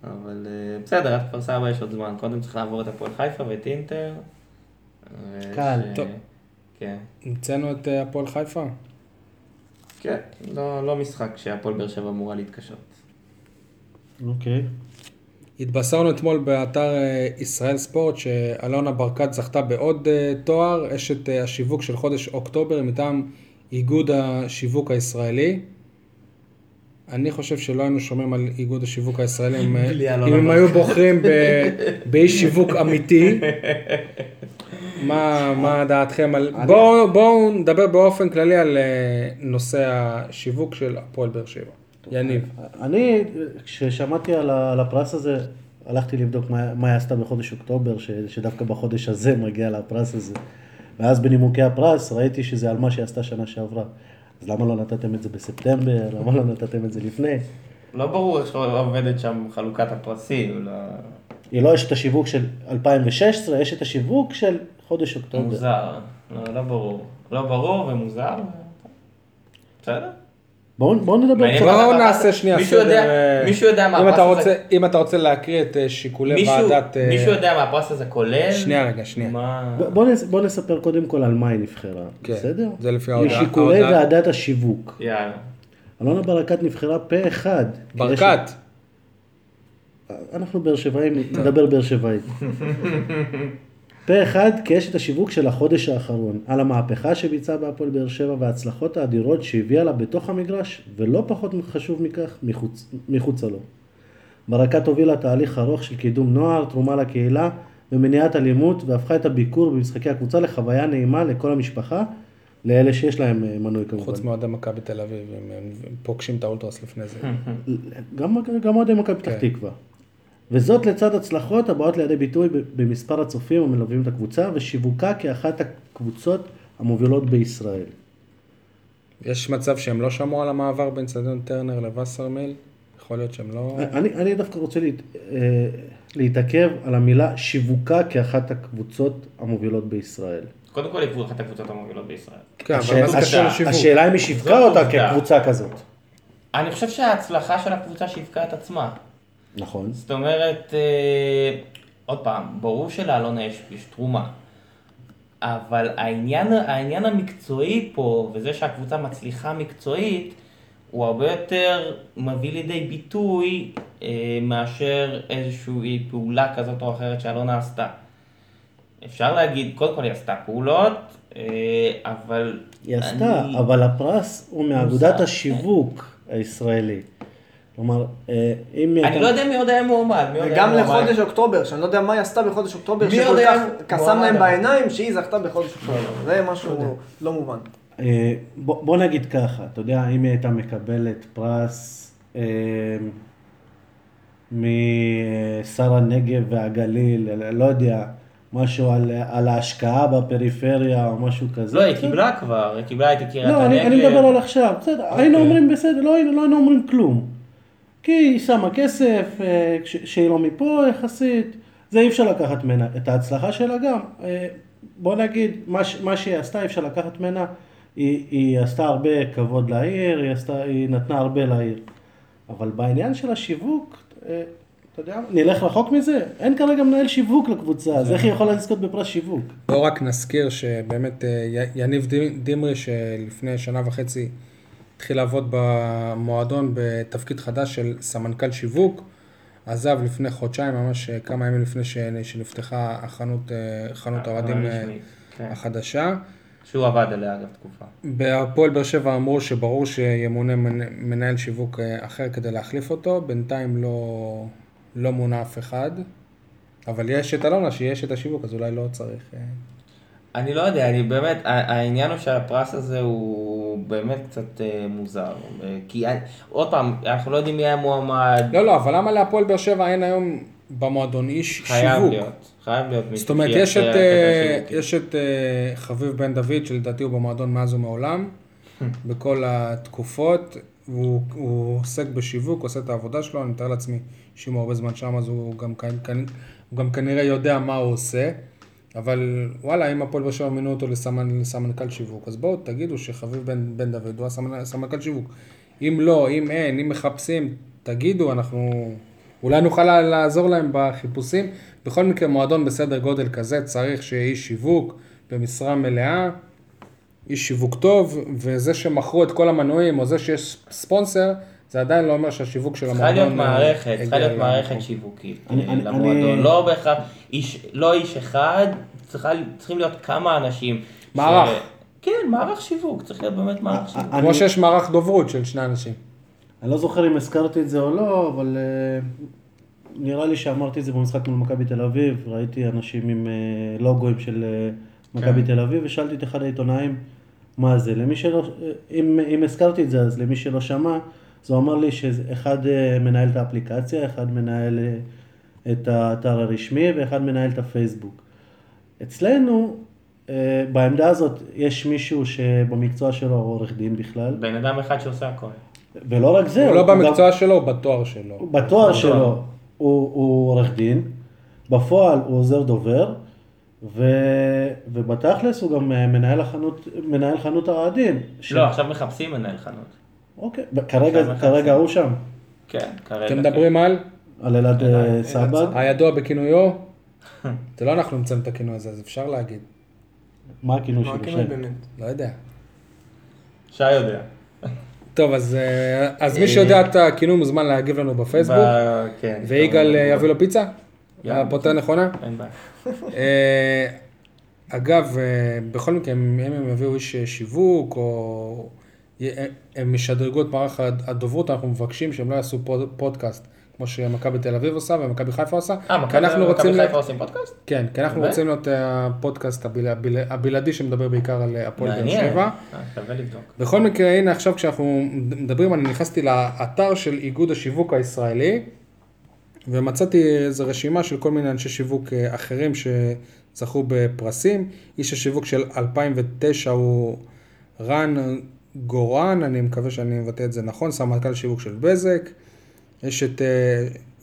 [SPEAKER 5] אבל אה, בסדר, עד כפר סבא יש עוד זמן. קודם צריך לעבור את הפועל חיפה ואת אינטר. ויש,
[SPEAKER 3] קל,
[SPEAKER 5] אה,
[SPEAKER 4] טוב.
[SPEAKER 5] כן.
[SPEAKER 4] המצאנו את אה, הפועל חיפה.
[SPEAKER 5] כן, לא לא משחק שהפועל באר שבע אמורה להתקשות.
[SPEAKER 3] אוקיי.
[SPEAKER 4] התבשרנו אתמול באתר אה, ישראל ספורט שאלונה ברקת זכתה בעוד אה, תואר, אשת אה, השיווק של חודש אוקטובר מטעם איגוד השיווק הישראלי. אני חושב שלא היינו שומעים על איגוד השיווק הישראלי אם, אה,
[SPEAKER 5] בלי אלונה
[SPEAKER 4] אם הם
[SPEAKER 5] ברקת.
[SPEAKER 4] היו בוחרים ב- באיש שיווק אמיתי. מה, מה דעתכם על... בואו בואו נדבר באופן כללי על אה, נושא השיווק של הפועל באר שבע. יניב.
[SPEAKER 3] אני, כששמעתי על ה- על הפרס הזה, הלכתי לבדוק מה, מה היא עשתה בחודש אוקטובר, ש, שדווקא בחודש הזה מגיע לה הפרס הזה. ואז בנימוקי הפרס ראיתי שזה על מה שהיא עשתה שנה שעברה. אז למה לא נתתם את זה בספטמבר? למה לא נתתם את זה לפני?
[SPEAKER 5] לא ברור איך עובדת שם חלוקת הפרסים, לא...
[SPEAKER 3] היא לא אשת השיווק של 2016, יש את השיווק של חודש אוקטובר.
[SPEAKER 5] מוזר. לא, לא ברור. לא ברור ומוזר. בסדר?
[SPEAKER 3] בואו בואו נדבר
[SPEAKER 5] מעניין
[SPEAKER 3] קצת.
[SPEAKER 5] אותי.
[SPEAKER 4] בואו נעשה שנייה
[SPEAKER 5] מישהו יודע-
[SPEAKER 4] אה,
[SPEAKER 5] מישהו יודע מה
[SPEAKER 4] אם אתה
[SPEAKER 5] הפרס הזה-
[SPEAKER 4] רוצה- אם אתה רוצה להקריא את אה, שיקולי
[SPEAKER 5] מישהו,
[SPEAKER 4] ועדת... אה,
[SPEAKER 5] מישהו יודע מה הפרס הזה כולל?
[SPEAKER 4] שנייה רגע, שנייה.
[SPEAKER 5] מה...
[SPEAKER 3] ב- בואו נס- בואו נספר קודם כל על מה היא נבחרה,
[SPEAKER 4] כן,
[SPEAKER 3] בסדר?
[SPEAKER 4] זה לפי ההודעה.
[SPEAKER 3] משיקולי
[SPEAKER 4] ההודעה.
[SPEAKER 3] ועדת השיווק.
[SPEAKER 5] יאללה.
[SPEAKER 3] אלונה ברקת נבחרה פה אחד. כדי ש-
[SPEAKER 4] ברקת,
[SPEAKER 3] אנחנו באר שבעים, נדבר באר שבעית. פה אחד כאשת השיווק של החודש האחרון, על המהפכה שביצעה בהפועל באר שבע וההצלחות האדירות שהביאה לה בתוך המגרש, ולא פחות חשוב מכך, מחוץ, מחוצה לו. ברקת הובילה תהליך ארוך של קידום נוער, תרומה לקהילה ומניעת אלימות, והפכה את הביקור במשחקי הקבוצה לחוויה נעימה לכל המשפחה, לאלה שיש להם אה, מנוי כמובן.
[SPEAKER 4] חוץ מאוהדי מכבי תל אביב, הם הם פוגשים את האולטרס לפני זה.
[SPEAKER 3] גם, גם אוהדי מכבי פתח
[SPEAKER 4] כן.
[SPEAKER 3] תקווה. וזאת לצד הצלחות הבאות לידי ביטוי ב- במספר הצופים המלווים את הקבוצה ושיווקה כאחת הקבוצות המובילות בישראל.
[SPEAKER 4] יש מצב שהם לא שמעו על המעבר בין סטדיון טרנר לווסרמיל? יכול להיות שהם לא...
[SPEAKER 3] אני, אני דווקא רוצה להת, אה, להתעכב על המילה שיווקה כאחת הקבוצות המובילות בישראל.
[SPEAKER 5] קודם כל יקבו אחת הקבוצות המובילות בישראל.
[SPEAKER 4] כן, אבל
[SPEAKER 3] השאל-
[SPEAKER 4] מה זה קשור
[SPEAKER 5] השאלה-
[SPEAKER 4] לשיווק?
[SPEAKER 3] השאלה אם היא שיווקה
[SPEAKER 5] זאת
[SPEAKER 3] אותה
[SPEAKER 5] עובדה.
[SPEAKER 3] כקבוצה כזאת.
[SPEAKER 5] אני חושב שההצלחה של הקבוצה שיווקה את עצמה.
[SPEAKER 3] נכון.
[SPEAKER 5] זאת אומרת, אה, עוד פעם, ברור שלאלונה יש, יש תרומה. אבל העניין, העניין המקצועי פה, וזה שהקבוצה מצליחה מקצועית, הוא הרבה יותר מביא לידי ביטוי אה, מאשר איזושהי פעולה כזאת או אחרת שאלונה עשתה. אפשר להגיד, קודם כל היא עשתה פעולות, אה, אבל...
[SPEAKER 3] היא עשתה,
[SPEAKER 5] אני-
[SPEAKER 3] אבל הפרס הוא מאגודת
[SPEAKER 5] מוזר.
[SPEAKER 3] השיווק הישראלי. כלומר, אה, אם היא
[SPEAKER 5] אני לא יודע מי עוד היה מועמד, מי עוד היה
[SPEAKER 2] וגם
[SPEAKER 5] מועמד.
[SPEAKER 2] לחודש אוקטובר, שאני לא יודע מה היא עשתה בחודש אוקטובר,
[SPEAKER 5] לא מי
[SPEAKER 2] שכל
[SPEAKER 5] יודע?
[SPEAKER 2] כך
[SPEAKER 5] וואלה.
[SPEAKER 2] קסם להם בעיניים שהיא זכתה
[SPEAKER 5] לא
[SPEAKER 2] בחודש אוקטובר. זה משהו לא מובן.
[SPEAKER 3] אה, בוא, בוא נגיד ככה, אתה יודע, אם היא הייתה מקבלת פרס אה, משר הנגב והגליל, לא יודע, משהו על, על ההשקעה בפריפריה או משהו כזה.
[SPEAKER 5] לא, היא
[SPEAKER 3] בסדר.
[SPEAKER 5] קיבלה כבר, היא קיבלה את קריית הנגב.
[SPEAKER 3] לא, אני, אני מדבר על עכשיו, בסדר, היינו אומרים בסדר, לא היינו, לא היינו אומרים כלום. כי היא שמה כסף, אה, כש- שהיא לא מפה יחסית, זה אי אפשר לקחת ממנה. את ההצלחה שלה גם, אה, בוא נגיד, מה, ש- מה שהיא עשתה אי אפשר לקחת ממנה, היא, היא עשתה הרבה כבוד לעיר, היא, עשתה, היא נתנה הרבה לעיר. אבל בעניין של השיווק, אה, אתה יודע, נלך רחוק מזה, אין כרגע מנהל שיווק לקבוצה, אז איך היא יכולה לזכות בפרס שיווק?
[SPEAKER 4] בואו רק נזכיר שבאמת אה, י- יניב ד- דמרי, שלפני שנה וחצי התחיל לעבוד במועדון בתפקיד חדש של סמנכ"ל שיווק, עזב לפני חודשיים, ממש אה, כמה ימים לפני ש- שנפתחה החנות, אה, חנות האוהדים אה,
[SPEAKER 5] הרשמית, כן.
[SPEAKER 4] החדשה.
[SPEAKER 5] שהוא עבד עליה אגב תקופה.
[SPEAKER 4] בהפועל באר שבע אמרו שברור שימונה מנ- מנהל שיווק אה, אחר כדי להחליף אותו, בינתיים לא, לא מונה אף אחד, אבל יש את אלונה שהיא אשת השיווק, אז אולי לא צריך. אה.
[SPEAKER 5] אני לא יודע, אני באמת, ה- העניין הוא שהפרס הזה הוא באמת קצת אה, מוזר. אה, כי אני- עוד פעם, אנחנו לא יודעים מי היה מועמד.
[SPEAKER 4] לא, לא, אבל למה להפועל באר שבע אין היום במועדון איש
[SPEAKER 5] חייב
[SPEAKER 4] שיווק?
[SPEAKER 5] להיות. חייב להיות מישהו
[SPEAKER 4] זאת אומרת,
[SPEAKER 5] שיעשה
[SPEAKER 4] יש את,
[SPEAKER 5] את
[SPEAKER 4] אה,
[SPEAKER 5] השיווק.
[SPEAKER 4] יש את אה, חביב בן דוד, שלדעתי הוא במועדון מאז ומעולם, בכל התקופות, והוא הוא עוסק בשיווק, עושה את העבודה שלו, אני מתאר לעצמי שאם הוא הרבה זמן שם, אז הוא גם, כנ- כנ- הוא גם כנראה יודע מה הוא עושה, אבל וואלה, אם הפועל באר שבע מינו אותו לסמנ- לסמנכ"ל שיווק, אז בואו תגידו שחביב בן, בן דוד הוא הסמנ- הסמנכ"ל שיווק. אם לא, אם אין, אם מחפשים, תגידו, אנחנו... אולי נוכל לה- לעזור להם בחיפושים. בכל מקרה, מועדון בסדר גודל כזה צריך שיהיה איש שיווק במשרה מלאה, איש שיווק טוב, וזה שמכרו את כל המנויים, או זה שיש ספונסר, זה עדיין לא אומר שהשיווק של
[SPEAKER 5] צריכה
[SPEAKER 4] המועדון...
[SPEAKER 5] להיות
[SPEAKER 4] אה, אוקיי.
[SPEAKER 5] מערכת, צריכה
[SPEAKER 4] הגיע
[SPEAKER 5] להיות מערכת
[SPEAKER 4] למקום.
[SPEAKER 5] שיווקית
[SPEAKER 3] אני-
[SPEAKER 5] אה,
[SPEAKER 3] אני-
[SPEAKER 5] למועדון.
[SPEAKER 3] אני-
[SPEAKER 5] לא בהכרח, איש- לא איש אחד, צריכה- צריכים להיות כמה אנשים. ש-
[SPEAKER 4] מערך. אה,
[SPEAKER 5] כן, מערך שיווק, צריך להיות באמת מערך שיווק.
[SPEAKER 3] אני-
[SPEAKER 4] כמו שיש מערך דוברות של שני אנשים.
[SPEAKER 3] אני לא זוכר אם הזכרתי את זה או לא, אבל אה, נראה לי שאמרתי את זה במשחק מול מכבי תל אביב, ראיתי אנשים עם אה, לוגוים של אה,
[SPEAKER 4] כן.
[SPEAKER 3] מכבי תל אביב, ושאלתי את אחד העיתונאים מה זה. למי שלא, אה, אם, אם הזכרתי את זה, אז למי שלא שמע, אז הוא אמר לי שאחד אה, מנהל את האפליקציה, אחד מנהל אה, את האתר הרשמי ואחד מנהל את הפייסבוק. אצלנו, אה, בעמדה הזאת, יש מישהו שבמקצוע שלו הוא עורך דין בכלל,
[SPEAKER 5] בן אדם אחד שעושה הכל.
[SPEAKER 3] ולא רק זה,
[SPEAKER 4] הוא לא
[SPEAKER 3] גם-
[SPEAKER 4] במקצוע שלו, הוא בתואר שלו.
[SPEAKER 3] בתואר שלו הוא, הוא עורך דין, בפועל הוא עוזר דובר, ו, ובתכלס הוא גם אה, מנהל, החנות, מנהל חנות הרעדין. ש-
[SPEAKER 5] לא, עכשיו מחפשים מנהל חנות.
[SPEAKER 3] אוקיי, כרגע,
[SPEAKER 5] עכשיו
[SPEAKER 3] כרגע
[SPEAKER 5] מחפשים.
[SPEAKER 3] הוא שם,
[SPEAKER 5] כן, כרגע.
[SPEAKER 4] אתם מדברים על
[SPEAKER 3] על אלעד אה, סבג.
[SPEAKER 4] הידוע בכינויו? זה לא אנחנו המצאנו את הכינוי הזה, אז אפשר להגיד.
[SPEAKER 3] מה הכינוי שלו?
[SPEAKER 2] מה הכינוי
[SPEAKER 3] שם?
[SPEAKER 2] אוקיי, באמת?
[SPEAKER 4] לא יודע.
[SPEAKER 5] כן. שי יודע.
[SPEAKER 4] טוב, אז, אה, אז מי שיודע את הכינוי מוזמן להגיב לנו בפייסבוק,
[SPEAKER 5] ב- כן.
[SPEAKER 4] ויגאל אה, יביא לו פיצה?
[SPEAKER 5] יאללה.
[SPEAKER 4] הפותה נכונה?
[SPEAKER 5] אין בעיה.
[SPEAKER 4] אה, אגב, אה, בכל מקרה, אם אם הם יביאו איש אה, שיווק, או אה, הם ישדרגו את מערך הד- הדוברות, אנחנו מבקשים שהם לא יעשו פוד- פודקאסט, כמו שמכבי תל אביב עושה ומכבי חיפה עושה.
[SPEAKER 5] אה,
[SPEAKER 4] כי אנחנו
[SPEAKER 5] מכבי
[SPEAKER 4] רוצים
[SPEAKER 5] מכבי
[SPEAKER 4] להיות-
[SPEAKER 5] חיפה עושים פודקאסט?
[SPEAKER 4] כן, כי אנחנו
[SPEAKER 5] באמת?
[SPEAKER 4] רוצים להיות אה, הפודקאסט הבל- הבל- הבלעדי שמדבר בעיקר על אה, הפועל באר
[SPEAKER 5] מעניין.
[SPEAKER 4] שבע.
[SPEAKER 5] אה, שווה לבדוק.
[SPEAKER 4] בכל מקרה, הנה עכשיו כשאנחנו מדברים, אני נכנסתי לאתר של איגוד השיווק הישראלי, ומצאתי איזו רשימה של כל מיני אנשי שיווק אה, אחרים שזכו בפרסים. איש השיווק של 2009 הוא רן גורן, אני מקווה שאני מבטא את זה נכון, סמנכ"ל שיווק של בזק. יש את אה,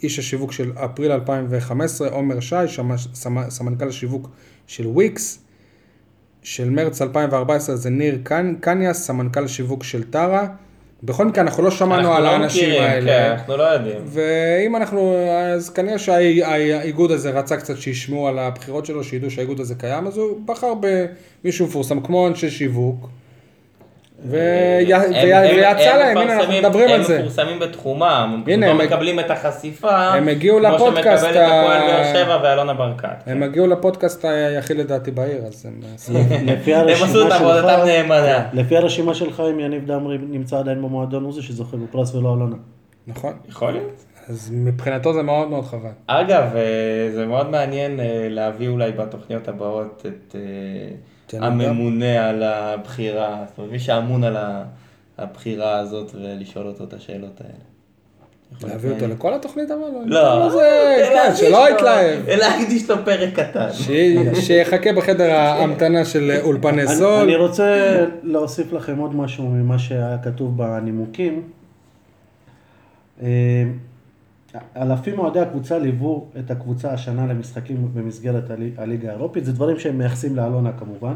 [SPEAKER 4] איש השיווק של אפריל 2015, עומר שי, שמש- סמ- סמנכ"ל השיווק של וויקס. של מרץ 2014 זה ניר קנ- קניאס, סמנכ"ל שיווק של טרה. בכל מקרה, אנחנו לא שמענו
[SPEAKER 5] אנחנו
[SPEAKER 4] על
[SPEAKER 5] לא
[SPEAKER 4] האנשים
[SPEAKER 5] מכירים,
[SPEAKER 4] האלה.
[SPEAKER 5] כן, אנחנו לא יודעים.
[SPEAKER 4] ואם אנחנו, אז כנראה שהאיגוד הזה רצה קצת שישמעו על הבחירות שלו, שידעו שהאיגוד הזה קיים, אז הוא בחר במישהו מפורסם, כמו אנשי שיווק. ו-
[SPEAKER 5] אה, הם-
[SPEAKER 4] י-
[SPEAKER 5] הם-
[SPEAKER 4] ו- ויצא
[SPEAKER 5] הם
[SPEAKER 4] להם, הנה אנחנו
[SPEAKER 5] מפרסמים-
[SPEAKER 4] מדברים על
[SPEAKER 5] הם
[SPEAKER 4] זה.
[SPEAKER 5] מפורסמים בתחומם, הם פשוט
[SPEAKER 4] הנה,
[SPEAKER 5] לא
[SPEAKER 4] הם-
[SPEAKER 5] מקבלים את החשיפה,
[SPEAKER 4] הם הגיעו לפודקאסט
[SPEAKER 5] כמו שמקבלת הפועל
[SPEAKER 4] ה-
[SPEAKER 5] באר שבע ואלונה ברקת.
[SPEAKER 4] הם הגיעו לפודקאסט היחיד לדעתי בעיר, אז הם...
[SPEAKER 3] לפי
[SPEAKER 5] הם עשו את
[SPEAKER 3] הרשימה
[SPEAKER 5] עבודתם
[SPEAKER 3] שלך,
[SPEAKER 5] נאמנה.
[SPEAKER 3] לפי הרשימה שלך, אם יניב דמרי נמצא עדיין במועדון, הוא זה שזוכה בפרס ולא אלונה.
[SPEAKER 4] נכון.
[SPEAKER 5] יכול להיות.
[SPEAKER 4] אז מבחינתו זה מאוד מאוד חבל.
[SPEAKER 5] אגב, אה, זה מאוד מעניין אה, להביא אולי בתוכניות הבאות את אה,
[SPEAKER 4] תן לי
[SPEAKER 5] הממונה על הבחירה, זאת אומרת, מי שאמון על ה- הבחירה הזאת ולשאול אותו את השאלות האלה. יכול
[SPEAKER 4] להביא
[SPEAKER 5] להיות
[SPEAKER 4] אותו לכל התוכנית אבל?
[SPEAKER 5] לא,
[SPEAKER 4] זה,
[SPEAKER 5] אה,
[SPEAKER 4] כן,
[SPEAKER 5] להקדיש
[SPEAKER 4] שלא
[SPEAKER 5] לו- אה,
[SPEAKER 4] יתלהב.
[SPEAKER 5] להקדיש לו פרק קטן.
[SPEAKER 4] שי- שיחכה בחדר ההמתנה של אולפני
[SPEAKER 3] אני-
[SPEAKER 4] סול.
[SPEAKER 3] אני רוצה להוסיף לכם עוד משהו ממה שהיה כתוב בנימוקים. אה, אלפים מאוהדי הקבוצה ליוו את הקבוצה השנה למשחקים במסגרת הלי- הליגה האירופית, זה דברים שהם מייחסים לאלונה כמובן,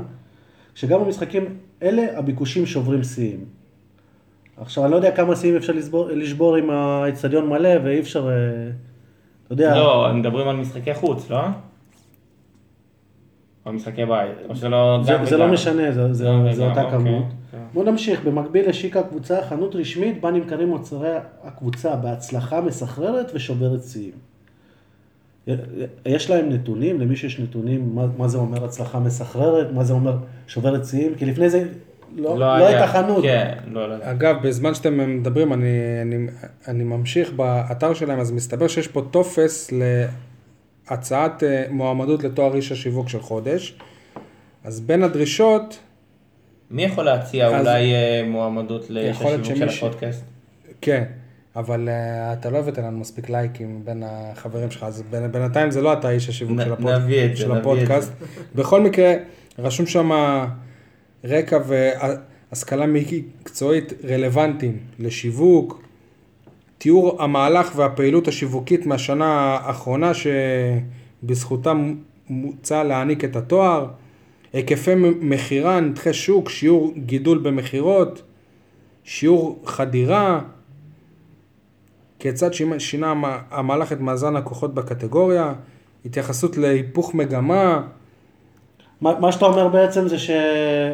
[SPEAKER 3] שגם במשחקים אלה הביקושים שוברים שיאים. עכשיו, אני לא יודע כמה שיאים אפשר לסבור, לשבור אם האצטדיון מלא ואי אפשר, אה, אתה יודע,
[SPEAKER 5] לא, הם מדברים על משחקי חוץ, לא? או משחקי בית, או שלא...
[SPEAKER 3] זה,
[SPEAKER 5] גם
[SPEAKER 3] זה לא
[SPEAKER 5] וגם.
[SPEAKER 3] משנה, זה, זה,
[SPEAKER 5] גם
[SPEAKER 3] זה
[SPEAKER 5] וגם,
[SPEAKER 3] אותה
[SPEAKER 5] אוקיי.
[SPEAKER 3] כמות.
[SPEAKER 5] כן.
[SPEAKER 3] בואו נמשיך, במקביל השיקה קבוצה חנות רשמית בה נמכרים מוצרי הקבוצה בהצלחה מסחררת ושוברת שיאים. יש להם נתונים, למי שיש נתונים, מה, מה זה אומר הצלחה מסחררת, מה זה אומר שוברת שיאים, כי לפני זה לא, לא,
[SPEAKER 5] היה.
[SPEAKER 3] הייתה חנות.
[SPEAKER 5] כן, לא, לא. היה.
[SPEAKER 4] אגב, בזמן שאתם מדברים, אני, אני, אני ממשיך באתר שלהם, אז מסתבר שיש פה טופס להצעת אה, מועמדות לתואר איש השיווק של חודש. אז בין הדרישות,
[SPEAKER 5] מי יכול להציע
[SPEAKER 4] אז-
[SPEAKER 5] אולי אה, מועמדות
[SPEAKER 4] יכול להיות
[SPEAKER 5] לשיווק של
[SPEAKER 4] שמישהו-
[SPEAKER 5] הפודקאסט?
[SPEAKER 4] כן, אבל אה, אתה לא הבאת לנו מספיק לייקים בין החברים שלך, אז בין- בינתיים זה לא אתה איש השיווק
[SPEAKER 5] נ-
[SPEAKER 4] של, הפוד...
[SPEAKER 5] נביא את זה,
[SPEAKER 4] של
[SPEAKER 5] נביא את
[SPEAKER 4] הפודקאסט. בכל מקרה, רשום שם רקע והשכלה מקצועית רלוונטיים לשיווק, תיאור המהלך והפעילות השיווקית מהשנה האחרונה שבזכותה מוצע להעניק את התואר, היקפי מכירה, נתחי שוק, שיעור גידול במכירות, שיעור חדירה, כיצד שינה, שינה המה- המהלך את מאזן הכוחות בקטגוריה, התייחסות להיפוך מגמה,
[SPEAKER 3] מה, מה שאתה אומר בעצם זה ש...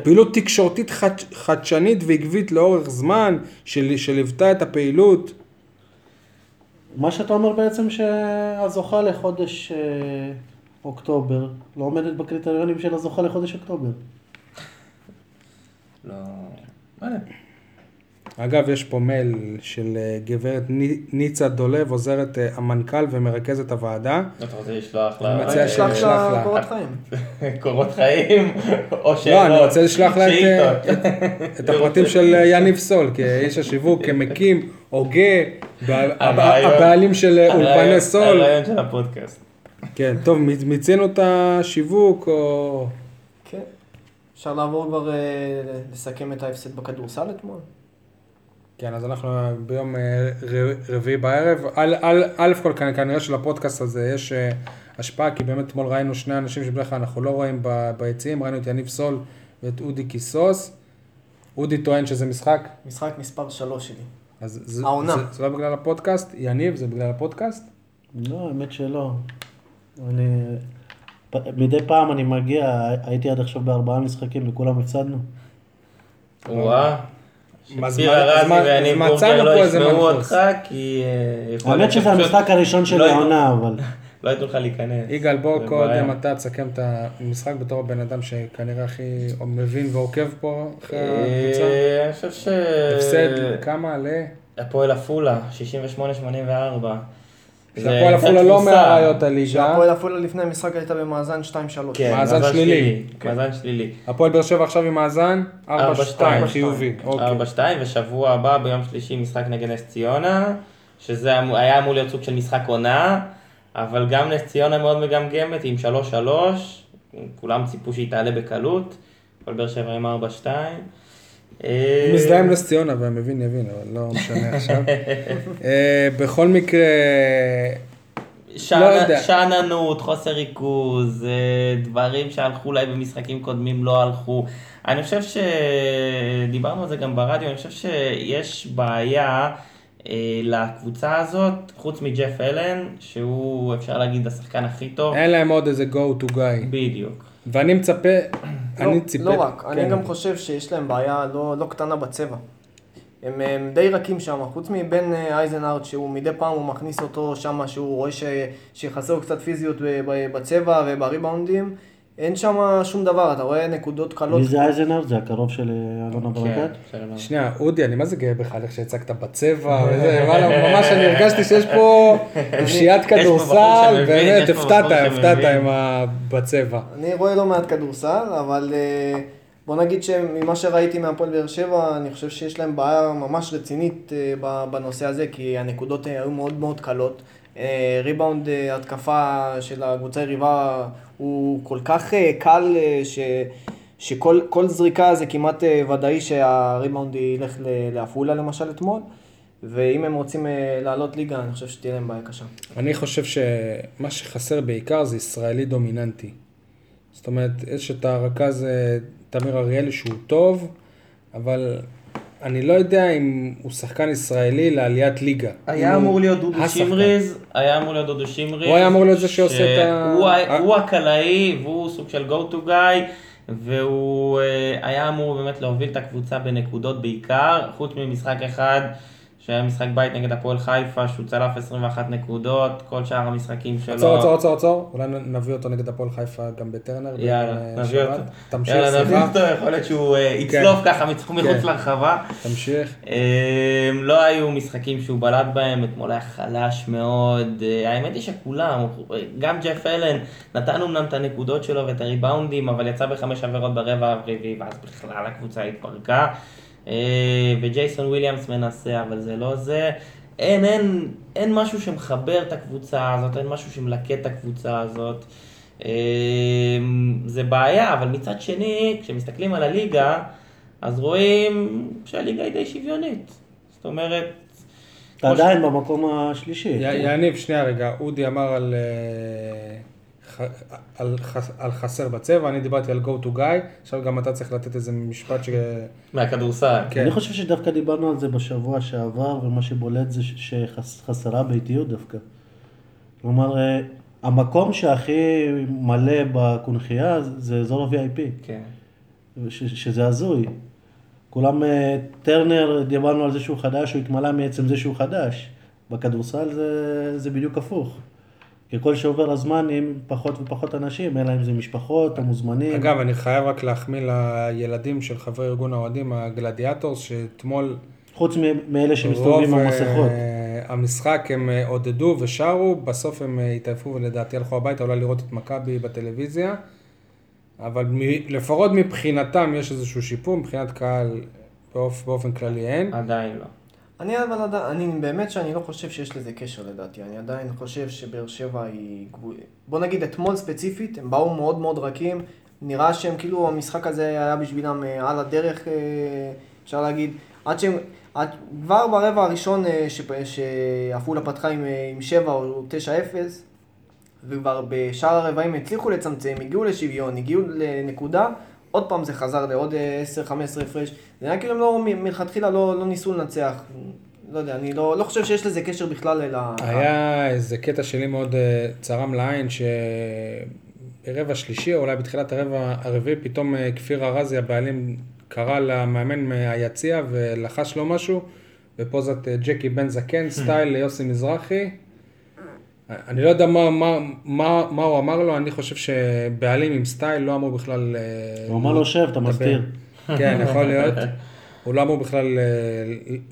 [SPEAKER 4] פעילות תקשורתית חד, חדשנית ועקבית לאורך זמן, של, שליוותה את הפעילות.
[SPEAKER 3] מה שאתה אומר בעצם שהזוכה לחודש אה, אוקטובר לא עומדת בקריטריונים של הזוכה לחודש אוקטובר.
[SPEAKER 5] לא... מה זה?
[SPEAKER 4] אגב, יש פה מייל של אה, גברת ני- ניצה דולב, עוזרת אה, המנכ"ל ומרכזת הוועדה.
[SPEAKER 5] אתה רוצה לשלוח
[SPEAKER 4] אני
[SPEAKER 5] לה...
[SPEAKER 4] מציע
[SPEAKER 5] אה,
[SPEAKER 2] שלח
[SPEAKER 4] שלח
[SPEAKER 2] לה
[SPEAKER 4] לה.
[SPEAKER 2] קורות חיים.
[SPEAKER 5] קורות חיים, או שאלות.
[SPEAKER 4] לא, אני רוצה לשלוח לה את,
[SPEAKER 5] שאילתות.
[SPEAKER 4] אה, את- את הפרטים של אה, יניב סול, כאיש השיווק, כמקים, הוגה, בעל-
[SPEAKER 5] הרעיון-
[SPEAKER 4] הבעלים של אה,
[SPEAKER 5] הרעיון-
[SPEAKER 4] אולפני סול.
[SPEAKER 5] הרעיון של הפודקאסט.
[SPEAKER 4] כן, טוב, מ- מיצינו את השיווק, או...
[SPEAKER 2] כן. אפשר לעבור כבר אה, לסכם את ההפסד בכדורסל אתמול?
[SPEAKER 4] כן, אז אנחנו ביום אה, ר- רביעי בערב. על- על- א' כל כנ- כנראה שלפודקאסט הזה יש אה, השפעה, כי באמת אתמול ראינו שני אנשים שבדרך כלל אנחנו לא רואים ב- ביציעים, ראינו את יניב סול ואת אודי קיסוס. אודי טוען שזה משחק,
[SPEAKER 2] משחק מספר 3 שלי.
[SPEAKER 4] אז זה,
[SPEAKER 2] העונה.
[SPEAKER 4] זה, זה לא בגלל הפודקאסט, יניב, זה בגלל הפודקאסט?
[SPEAKER 3] לא, האמת שלא. אני... פ- מדי פעם אני מגיע, הייתי עד עכשיו בארבעה משחקים וכולם הפסדנו.
[SPEAKER 5] וואה.
[SPEAKER 4] מה
[SPEAKER 5] שפיר
[SPEAKER 4] זמן-
[SPEAKER 5] ארזי
[SPEAKER 4] זמן-
[SPEAKER 5] ואני
[SPEAKER 4] מצאנו
[SPEAKER 5] בורגר לא
[SPEAKER 4] פה איזה
[SPEAKER 5] ישמעו
[SPEAKER 4] מנחוס.
[SPEAKER 5] אותך, כי... אה, יכול להיות
[SPEAKER 3] האמת שזה
[SPEAKER 5] שפשוט
[SPEAKER 3] המשחק הראשון של
[SPEAKER 5] לא ייתנו-
[SPEAKER 3] העונה, אבל...
[SPEAKER 5] לא ייתנו לך להיכנס.
[SPEAKER 4] יגאל, בוא
[SPEAKER 5] זה
[SPEAKER 4] קודם
[SPEAKER 5] בעיה.
[SPEAKER 4] אתה תסכם את המשחק בתור הבן אדם שכנראה הכי מבין ועוקב פה אחרי הקבוצה.
[SPEAKER 5] אה, אני חושב ש...
[SPEAKER 4] הפסד כמה? ל...
[SPEAKER 5] הפועל עפולה, 68-84. זה
[SPEAKER 4] שהפועל
[SPEAKER 5] קצת
[SPEAKER 4] עפולה לא
[SPEAKER 5] תבוסה.
[SPEAKER 4] מאריות הליגה.
[SPEAKER 2] שהפועל עפולה לפני המשחק הייתה במאזן 2-3.
[SPEAKER 5] כן,
[SPEAKER 4] מאזן שלילי. כן.
[SPEAKER 5] מאזן שלילי.
[SPEAKER 4] הפועל באר שבע עכשיו עם מאזן 4-2,
[SPEAKER 5] 4-2.
[SPEAKER 4] חיובי. אוקיי.
[SPEAKER 5] 4-2, ושבוע הבא ביום שלישי משחק נגד נס ציונה, שזה אמור- היה אמור להיות סוג של משחק עונה, אבל גם נס ציונה מאוד מגמגמת עם 3-3, כולם ציפו שהיא תעלה בקלות, אבל באר שבע עם 4-2. אה,
[SPEAKER 4] הוא מזדהה עם נס ציונה והמבין יבין, אבל לא משנה עכשיו. אה, בכל מקרה,
[SPEAKER 5] שאנ-
[SPEAKER 4] לא יודע.
[SPEAKER 5] שאננות, חוסר ריכוז, אה, דברים שהלכו אולי במשחקים קודמים לא הלכו. אני חושב שדיברנו על זה גם ברדיו, אני חושב שיש בעיה אה, לקבוצה הזאת, חוץ מג'ף אלן, שהוא אפשר להגיד השחקן הכי טוב.
[SPEAKER 4] אין להם עוד איזה go to guy.
[SPEAKER 5] בדיוק.
[SPEAKER 4] ואני מצפה,
[SPEAKER 2] לא,
[SPEAKER 4] אני ציפה...
[SPEAKER 2] לא רק,
[SPEAKER 4] כן.
[SPEAKER 2] אני גם חושב שיש להם בעיה לא, לא קטנה בצבע. הם, הם די רכים שם, חוץ מבן אה, אייזנארט, שהוא מדי פעם הוא מכניס אותו שם, שהוא רואה ש, שחסר לו קצת פיזיות ב- ב- בצבע ובריבאונדים, אין שם שום דבר, אתה רואה נקודות קלות.
[SPEAKER 3] מי זה אייזנר? זה הקרוב של אה, אלונה
[SPEAKER 5] כן.
[SPEAKER 3] ברקת?
[SPEAKER 5] שלום.
[SPEAKER 4] שנייה, אודי, אני מה זה גאה בך על איך שהצגת בצבע וזה, וואלה, ממש אני הרגשתי שיש פה אושיית
[SPEAKER 5] פה בחור
[SPEAKER 4] כדורסל,
[SPEAKER 5] שמבין,
[SPEAKER 4] באמת,
[SPEAKER 5] יש פה בחור
[SPEAKER 4] הפתעת, הפתעת
[SPEAKER 5] שמבין.
[SPEAKER 4] עם ה... בצבע.
[SPEAKER 2] אני רואה לא מעט כדורסל, אבל אה, בוא נגיד שממה שראיתי מהפועל באר שבע, אני חושב שיש להם בעיה ממש רצינית אה, ב- בנושא הזה, כי הנקודות אה, היו מאוד מאוד קלות. אה, ריבאונד אה, התקפה של הקבוצה היריבה הוא כל כך אה, קל אה, ש... שכל כל זריקה זה כמעט אה, ודאי שהריבאונד ילך ל- לעפולה למשל אתמול, ואם הם רוצים אה, לעלות ליגה, אני חושב שתהיה להם בעיה קשה.
[SPEAKER 4] אני חושב שמה שחסר בעיקר זה ישראלי דומיננטי. זאת אומרת, יש את הרכז אה, תמיר אריאלי שהוא טוב, אבל אני לא יודע אם הוא שחקן ישראלי לעליית ליגה.
[SPEAKER 5] היה אמור להיות דודו
[SPEAKER 4] השחקן.
[SPEAKER 5] שמריז, היה אמור להיות דודו שמריז.
[SPEAKER 4] הוא היה אמור להיות זה שעושה את ה- אה.
[SPEAKER 5] שהוא
[SPEAKER 4] ה-
[SPEAKER 5] ה... הוא הקלעי והוא סוג של go to guy, והוא אה, היה אמור באמת להוביל את הקבוצה בנקודות בעיקר, חוץ ממשחק אחד, שהיה משחק בית נגד הפועל חיפה, שהוא צלף 21 נקודות, כל שאר המשחקים שלו.
[SPEAKER 4] עצור, עצור, עצור, עצור, אולי נ- נביא אותו נגד הפועל חיפה גם בטרנר.
[SPEAKER 5] יאללה,
[SPEAKER 4] ביום, אה,
[SPEAKER 5] נביא
[SPEAKER 4] שבת.
[SPEAKER 5] אותו.
[SPEAKER 4] תמשיך,
[SPEAKER 5] יאללה, נביא
[SPEAKER 4] סליחה.
[SPEAKER 5] אותו, יכול להיות שהוא אה, יצלוף ככה מצ- מחוץ
[SPEAKER 4] כן.
[SPEAKER 5] לרחבה.
[SPEAKER 4] תמשיך.
[SPEAKER 5] אמ, לא היו משחקים שהוא בלט בהם, אתמול היה חלש מאוד, אה, האמת היא שכולם, גם ג'ף אלן נתן אמנם את הנקודות שלו ואת הריבאונדים, אבל יצא בחמש עבירות ברבע הרביעי, ואז בכלל הקבוצה התפרקה, אה, וג'ייסון וויליאמס מנסה, אבל זה לא זה. אין, אין, אין משהו שמחבר את הקבוצה הזאת, אין משהו שמלקט את הקבוצה הזאת. אמ, זה בעיה, אבל מצד שני, כשמסתכלים על הליגה, אז רואים שהליגה היא די שוויונית. זאת אומרת,
[SPEAKER 3] אתה עדיין במקום השלישי.
[SPEAKER 5] אה,
[SPEAKER 4] י- יניב, שנייה רגע, אודי אמר על, אה, ח- על, חס- על חסר בצבע, אני דיברתי על go to guy, עכשיו גם אתה צריך לתת איזה משפט ש...
[SPEAKER 5] מהכדורסל.
[SPEAKER 4] כן.
[SPEAKER 3] אני חושב שדווקא דיברנו על זה בשבוע שעבר, ומה שבולט זה ש- שחסרה ביתיות דווקא. כלומר, אה, המקום שהכי מלא בקונכייה זה- זה אזור ה-VIP,
[SPEAKER 5] כן.
[SPEAKER 3] ש- שזה הזוי. כולם, אה, טרנר, דיברנו על זה שהוא חדש, הוא התמלא מעצם זה שהוא חדש. בכדורסל זה, זה בדיוק הפוך. ככל שעובר הזמן, עם פחות ופחות אנשים, אלא אם זה משפחות, המוזמנים.
[SPEAKER 4] אגב, אני חייב רק להחמיא לילדים של חברי ארגון האוהדים, הגלדיאטורס, שאתמול
[SPEAKER 3] חוץ מ- מאלה שמסתובבים עם
[SPEAKER 4] רוב,
[SPEAKER 3] המסכות.
[SPEAKER 4] אה, המשחק הם אה, עודדו ושרו, בסוף הם אה, התעייפו ולדעתי הלכו הביתה אולי לראות את מכבי בטלוויזיה. אבל מ- לפחות מבחינתם יש איזשהו שיפור, מבחינת קהל באופ- באופן כללי אין.
[SPEAKER 5] עדיין לא.
[SPEAKER 2] אני אבל עדיין, אני באמת שאני לא חושב שיש לזה קשר לדעתי, אני עדיין חושב שבאר שבע היא... גבו- בוא נגיד אתמול ספציפית, הם באו מאוד מאוד רכים, נראה שהם כאילו המשחק הזה היה בשבילם אה, על הדרך, אה, אפשר להגיד, עד שהם... עד, כבר ברבע הראשון אה, שפ- שעפולה פתחה עם, אה, עם 7 או 9-0, וכבר בשאר הרבעים הצליחו לצמצם, הגיעו לשוויון, הגיעו לנקודה, עוד פעם זה חזר לעוד אה, 10-15 הפרש. זה היה כאילו הם לא, מ- מלכתחילה לא, לא ניסו לנצח. לא יודע, אני לא, לא חושב שיש לזה קשר בכלל אל ה...
[SPEAKER 4] היה איזה קטע שלי מאוד אה, צרם לעין, שברבע שלישי, או אולי בתחילת הרבע הרביעי, פתאום אה, כפיר ארזי, הבעלים, קרא למאמן מהיציע ולחש לו משהו, בפוזת אה, ג'קי בן זקן, סטייל יוסי מזרחי. אני לא יודע מה, מה, מה, מה הוא אמר לו, אני חושב שבעלים עם סטייל לא אמור בכלל... אה,
[SPEAKER 3] הוא אמר לו, "שב, אתה
[SPEAKER 4] לדבר."
[SPEAKER 3] מסתיר.
[SPEAKER 4] כן, יכול להיות. הוא לא אמור בכלל אה,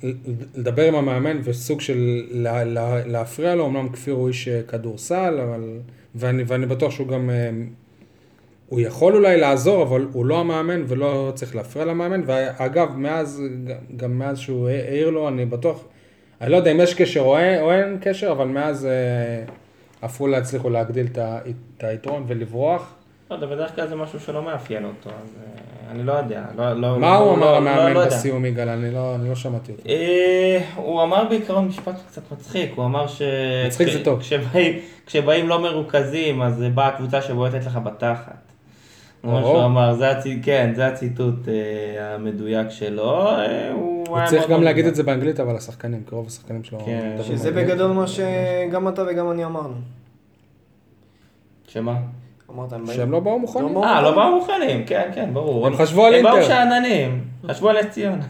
[SPEAKER 4] ל- ל- לדבר עם המאמן וסוג של לה- לה- להפריע לו, אמנם כפיר הוא איש אה, כדורסל, אבל... ואני, ואני בטוח שהוא גם... אה, הוא יכול אולי לעזור, אבל הוא לא המאמן ולא צריך להפריע למאמן. ואגב, מאז, גם מאז שהוא העיר לו, אני בטוח, אני לא יודע אם יש קשר או אין, או אין קשר, אבל מאז אה, עפולה הצליחו להגדיל את ה- את היתרון ולברוח.
[SPEAKER 5] לא יודע, בדרך כלל זה משהו שלא מאפיין אותו, אז אה, אני לא יודע. לא, לא,
[SPEAKER 4] מה
[SPEAKER 5] לא,
[SPEAKER 4] הוא אמר
[SPEAKER 5] לא, לא, לא
[SPEAKER 4] המאמן
[SPEAKER 5] יודע.
[SPEAKER 4] בסיום, יגאל? אני לא- אני לא שמעתי אותו.
[SPEAKER 5] אה, הוא אמר בעיקרון משפט קצת מצחיק, הוא אמר ש...
[SPEAKER 4] מצחיק זה טוב.
[SPEAKER 5] כשבאים, כשבאים לא מרוכזים, אז באה הקבוצה שבועטת לך בתחת. זה מה
[SPEAKER 4] או.
[SPEAKER 5] שהוא אמר, זה, הצ... כן, זה הציטוט אה, המדויק שלו. אה, הוא
[SPEAKER 4] הוא
[SPEAKER 5] היה
[SPEAKER 4] צריך
[SPEAKER 5] מאוד
[SPEAKER 4] גם להגיד
[SPEAKER 5] מרוכז.
[SPEAKER 4] את זה באנגלית, אבל השחקנים, כי רוב השחקנים שלו...
[SPEAKER 5] כן.
[SPEAKER 4] מדברים
[SPEAKER 2] שזה
[SPEAKER 4] באנגלית.
[SPEAKER 2] בגדול מה שגם אתה וגם אני אמרנו.
[SPEAKER 5] שמה?
[SPEAKER 2] אמרת, הם
[SPEAKER 4] שהם לא באו מוכנים.
[SPEAKER 2] לא באו.
[SPEAKER 5] אה, לא באו מוכנים, כן, כן, ברור.
[SPEAKER 4] הם חשבו על
[SPEAKER 5] הם באו
[SPEAKER 4] אינטר.
[SPEAKER 5] שאננים, חשבו על נס ציונה.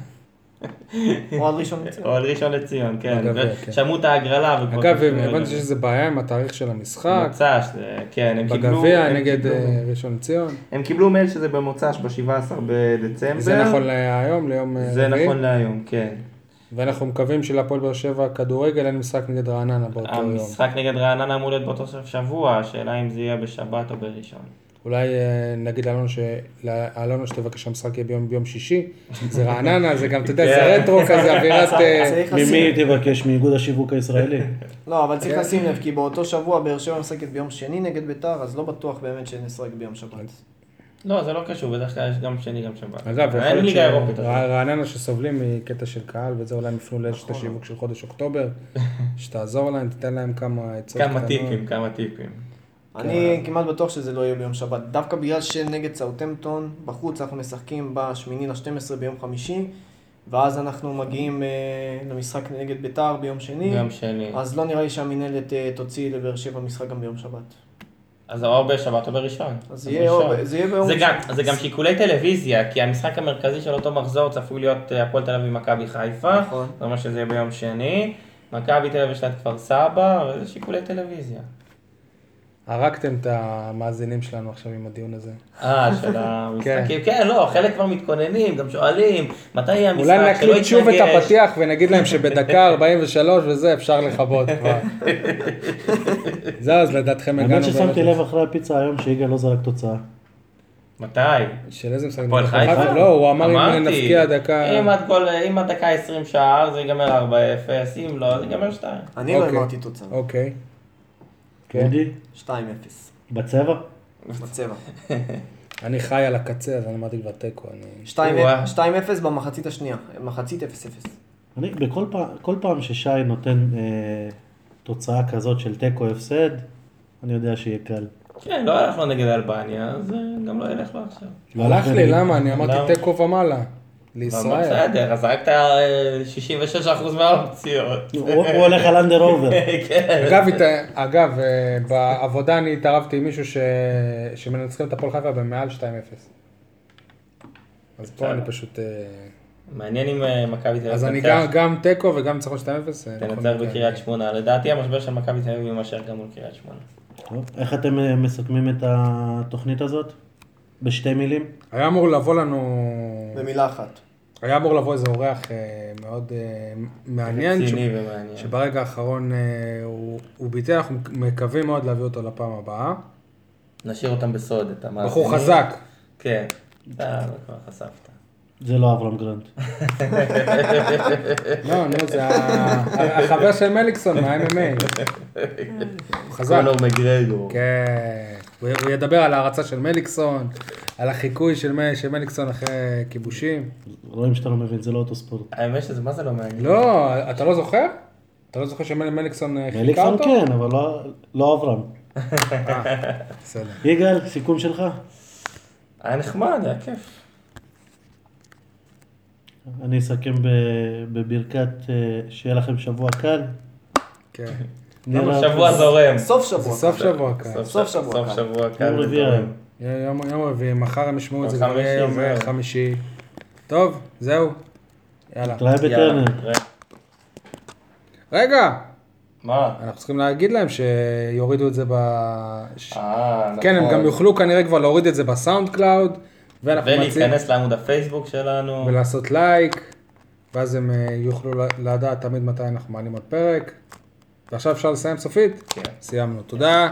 [SPEAKER 2] או על ראשון לציון.
[SPEAKER 5] או על ראשון לציון, כן.
[SPEAKER 4] בגביע,
[SPEAKER 5] ו-
[SPEAKER 4] כן.
[SPEAKER 5] שמעו את ההגרלה. וכבר
[SPEAKER 4] אגב,
[SPEAKER 5] חשבו על
[SPEAKER 4] הבנתי
[SPEAKER 5] זה.
[SPEAKER 4] שזה בעיה עם התאריך של המשחק,
[SPEAKER 5] מוצ"ש, זה- כן, לא. הם קיבלו...
[SPEAKER 4] בגביע
[SPEAKER 5] הם
[SPEAKER 4] נגד
[SPEAKER 5] קיבלו-
[SPEAKER 4] אה, ראשון לציון.
[SPEAKER 5] הם קיבלו מייל שזה במוצ"ש, ב-17 בדצמבר.
[SPEAKER 4] זה נכון להיום, ליום אה,
[SPEAKER 5] זה
[SPEAKER 4] רביעי.
[SPEAKER 5] נכון להיום, כן.
[SPEAKER 4] ואנחנו מקווים שלהפועל באר שבע כדורגל אין משחק נגד רעננה באותו
[SPEAKER 5] אה,
[SPEAKER 4] יום.
[SPEAKER 5] המשחק נגד רעננה אמור להיות באותו סוף שבוע, השאלה אם זה יהיה בשבת או בראשון.
[SPEAKER 4] אולי אה, נגיד לאלונה ש- לאלונה שתבקש שהמשחק יהיה ביום ביום שישי. זה רעננה, זה גם, אתה יודע, זה
[SPEAKER 5] כן.
[SPEAKER 4] רטרו כזה, אווירת... אה,
[SPEAKER 2] צריך
[SPEAKER 3] ממי
[SPEAKER 2] לשים-
[SPEAKER 3] היא תבקש? מאיגוד השיווק הישראלי.
[SPEAKER 2] לא, אבל
[SPEAKER 4] אה.
[SPEAKER 2] צריך לשים לב, כי באותו שבוע באר שבע משחקת ביום שני נגד ביתר, אז לא בטוח באמת שנשחק ביום
[SPEAKER 4] אוקיי.
[SPEAKER 2] שבת.
[SPEAKER 5] לא, זה לא קשור, בדרך כלל יש גם שני, גם שבת.
[SPEAKER 4] אגב, יכול
[SPEAKER 5] אין
[SPEAKER 4] להיות
[SPEAKER 5] ליגה אירופית. אז-
[SPEAKER 4] שרעננה שסובלים מקטע של קהל, וזה אולי הם יפנו לאשת
[SPEAKER 5] נכון.
[SPEAKER 4] השיווק של חודש אוקטובר, שתעזור להם, תיתן להם כמה עצות
[SPEAKER 5] כמה טיפים, כמה טיפים.
[SPEAKER 2] אני כמעט בטוח שזה לא יהיה ביום שבת, דווקא בגלל שנגד סאוטמפטון, בחוץ אנחנו משחקים בשמיני ל-12 ביום חמישי, ואז אנחנו מגיעים אה, למשחק נגד ביתר ביום שני,
[SPEAKER 5] ביום שני.
[SPEAKER 2] אז לא נראה לי שהמינהלת אה, תוציא לבאר שבע משחק גם ביום שבת.
[SPEAKER 5] אז או בשבת או בראשון.
[SPEAKER 2] אז יהיה או-
[SPEAKER 5] ראשון.
[SPEAKER 2] זה יהיה ביום
[SPEAKER 5] זה
[SPEAKER 2] ראשון.
[SPEAKER 5] גם- זה גם שיקולי טלוויזיה, כי המשחק המרכזי של אותו מחזור צפוי להיות אה, הפועל תל אביב מכבי חיפה.
[SPEAKER 2] נכון.
[SPEAKER 5] זה אומר שזה יהיה ביום שני. מכבי תל אביב יש לה את כפר סבא, וזה שיקולי טלוויזיה.
[SPEAKER 4] הרגתם את המאזינים שלנו עכשיו עם הדיון הזה.
[SPEAKER 5] אה, של המשחקים. כן, לא, חלק כבר מתכוננים, גם שואלים, מתי יהיה המשחק,
[SPEAKER 4] אולי
[SPEAKER 5] שלא
[SPEAKER 4] נקליט שוב את
[SPEAKER 5] יתנגש.
[SPEAKER 4] הפתיח ונגיד להם שבדקה 43 וזה אפשר לכבות כבר. זהו, אז לדעתכם הגענו.
[SPEAKER 3] האמת ששמתי
[SPEAKER 4] באמת-
[SPEAKER 3] לב אחרי הפיצה היום שיגאל לא זרק תוצאה.
[SPEAKER 5] מתי?
[SPEAKER 4] של איזה משחק?
[SPEAKER 5] הפועל
[SPEAKER 4] מכבי
[SPEAKER 5] חיפה?
[SPEAKER 4] לא, הוא אמר אם
[SPEAKER 5] אמרתי,
[SPEAKER 4] נפקיע דקה...
[SPEAKER 5] אם עד גול- אם עד דקה 20 שער זה ייגמר 4-0, אם לא, זה ייגמר 2.
[SPEAKER 2] אני לא
[SPEAKER 4] אוקיי.
[SPEAKER 2] אמרתי תוצאה,
[SPEAKER 4] אוקיי. כן.
[SPEAKER 3] אודי,
[SPEAKER 2] 2-0,
[SPEAKER 3] בצבע?
[SPEAKER 2] בצבע.
[SPEAKER 4] אני חי על הקצה, אז אני אמרתי כבר תיקו. אני-
[SPEAKER 2] 2-0
[SPEAKER 5] וואו.
[SPEAKER 2] 2-0 במחצית השנייה, מחצית 0-0.
[SPEAKER 3] אני, בכל פעם, כל פעם ששי נותן אה, תוצאה כזאת של תיקו הפסד, אני יודע שיהיה קל.
[SPEAKER 5] כן, לא הלך לו נגד אלבניה, אז אה, גם לא ילך לו עכשיו.
[SPEAKER 4] הלך לי, למה? אני אמרתי
[SPEAKER 5] למה?
[SPEAKER 4] תיקו ומעלה.
[SPEAKER 5] אבל
[SPEAKER 4] לישראל.
[SPEAKER 5] בסדר, אז רק את ה-66% מהאופציות.
[SPEAKER 3] הוא, הוא הולך על אנדר אובר.
[SPEAKER 5] כן.
[SPEAKER 4] אגב, הת- אגב, אה, בעבודה אני התערבתי עם מישהו ש- שמנצחים את הפועל חיפה במעל 2-0. אז פה אני פשוט... אה,
[SPEAKER 5] מעניין אם אה, מכבי תל
[SPEAKER 4] אז אני
[SPEAKER 5] אביב
[SPEAKER 4] גם-
[SPEAKER 5] תנצח-
[SPEAKER 4] גם תיקו וגם ניצחון 2-0. אה,
[SPEAKER 5] תנצח
[SPEAKER 4] נכון,
[SPEAKER 5] בקריית שמונה. לדעתי המשבר של מכבי תל אביב יימשך גם מול קריית שמונה.
[SPEAKER 3] טוב, איך אתם אה, מסכמים את התוכנית הזאת? בשתי מילים?
[SPEAKER 4] היה אמור אה, לבוא לנו
[SPEAKER 2] במילה אחת.
[SPEAKER 4] היה אמור לבוא איזה אורח אה, מאוד אה, מעניין,
[SPEAKER 5] רציני
[SPEAKER 4] שהוא-
[SPEAKER 5] ומעניין.
[SPEAKER 4] שברגע האחרון אה, הוא- הוא ביטל, אנחנו מקווים מאוד להביא אותו לפעם הבאה.
[SPEAKER 5] נשאיר אותם בסוד, את המאזינים.
[SPEAKER 4] בחור חזק.
[SPEAKER 5] כן. אתה כבר חשפת.
[SPEAKER 3] זה לא אברהם גרנט.
[SPEAKER 4] לא, נו, זה ה- החבר של מליקסון מה-MMA. הוא חזק.
[SPEAKER 5] קונור כן. מגרגור.
[SPEAKER 4] כן. הוא הוא ידבר על ההערצה של מליקסון, על החיקוי של מ- של מליקסון אחרי כיבושים.
[SPEAKER 3] רואים שאתה לא מבין, זה לא אותו ספורט.
[SPEAKER 5] האמת שזה מה זה לא מעניין.
[SPEAKER 4] לא, אתה לא זוכר? אתה לא זוכר שמליקסון אה, חיכה
[SPEAKER 3] מליקסון
[SPEAKER 4] אותו?
[SPEAKER 3] כן, אבל לא- לא אברהם.
[SPEAKER 4] אה, בסדר.
[SPEAKER 3] יגאל, סיכום שלך?
[SPEAKER 5] היה נחמד, היה כיף.
[SPEAKER 3] אני אסכם ב- בברכת אה, שיהיה לכם שבוע קל.
[SPEAKER 4] כן.
[SPEAKER 5] למה,
[SPEAKER 3] נראה-
[SPEAKER 5] שבוע זורם.
[SPEAKER 2] סוף שבוע.
[SPEAKER 4] זה סוף שבוע כאן.
[SPEAKER 2] סוף שבוע
[SPEAKER 5] סוף
[SPEAKER 2] קל.
[SPEAKER 5] שבוע קל.
[SPEAKER 3] יום רביעי היום.
[SPEAKER 4] יום יום רביעי, מחר הם ישמעו את זה,
[SPEAKER 5] יום
[SPEAKER 4] כבר יהיה
[SPEAKER 5] חמישי,
[SPEAKER 4] יום אה,
[SPEAKER 5] זהו.
[SPEAKER 4] חמישי. טוב, זהו. יאללה.
[SPEAKER 3] נתראה
[SPEAKER 5] יאללה,
[SPEAKER 3] בטרנר.
[SPEAKER 5] נתראה.
[SPEAKER 4] רגע!
[SPEAKER 5] מה?
[SPEAKER 4] אנחנו צריכים להגיד להם שיורידו את זה ב... ש-
[SPEAKER 5] אה, נכון.
[SPEAKER 4] כן, הם גם יוכלו כנראה כבר להוריד את זה בסאונד קלאוד, ואנחנו מציעים...
[SPEAKER 5] ולהיכנס לעמוד הפייסבוק שלנו.
[SPEAKER 4] ולעשות לייק, ואז הם אה, יוכלו ל- לדעת תמיד מתי אנחנו מעלים עוד פרק. ועכשיו אפשר לסיים סופית?
[SPEAKER 5] כן.
[SPEAKER 4] סיימנו. תודה.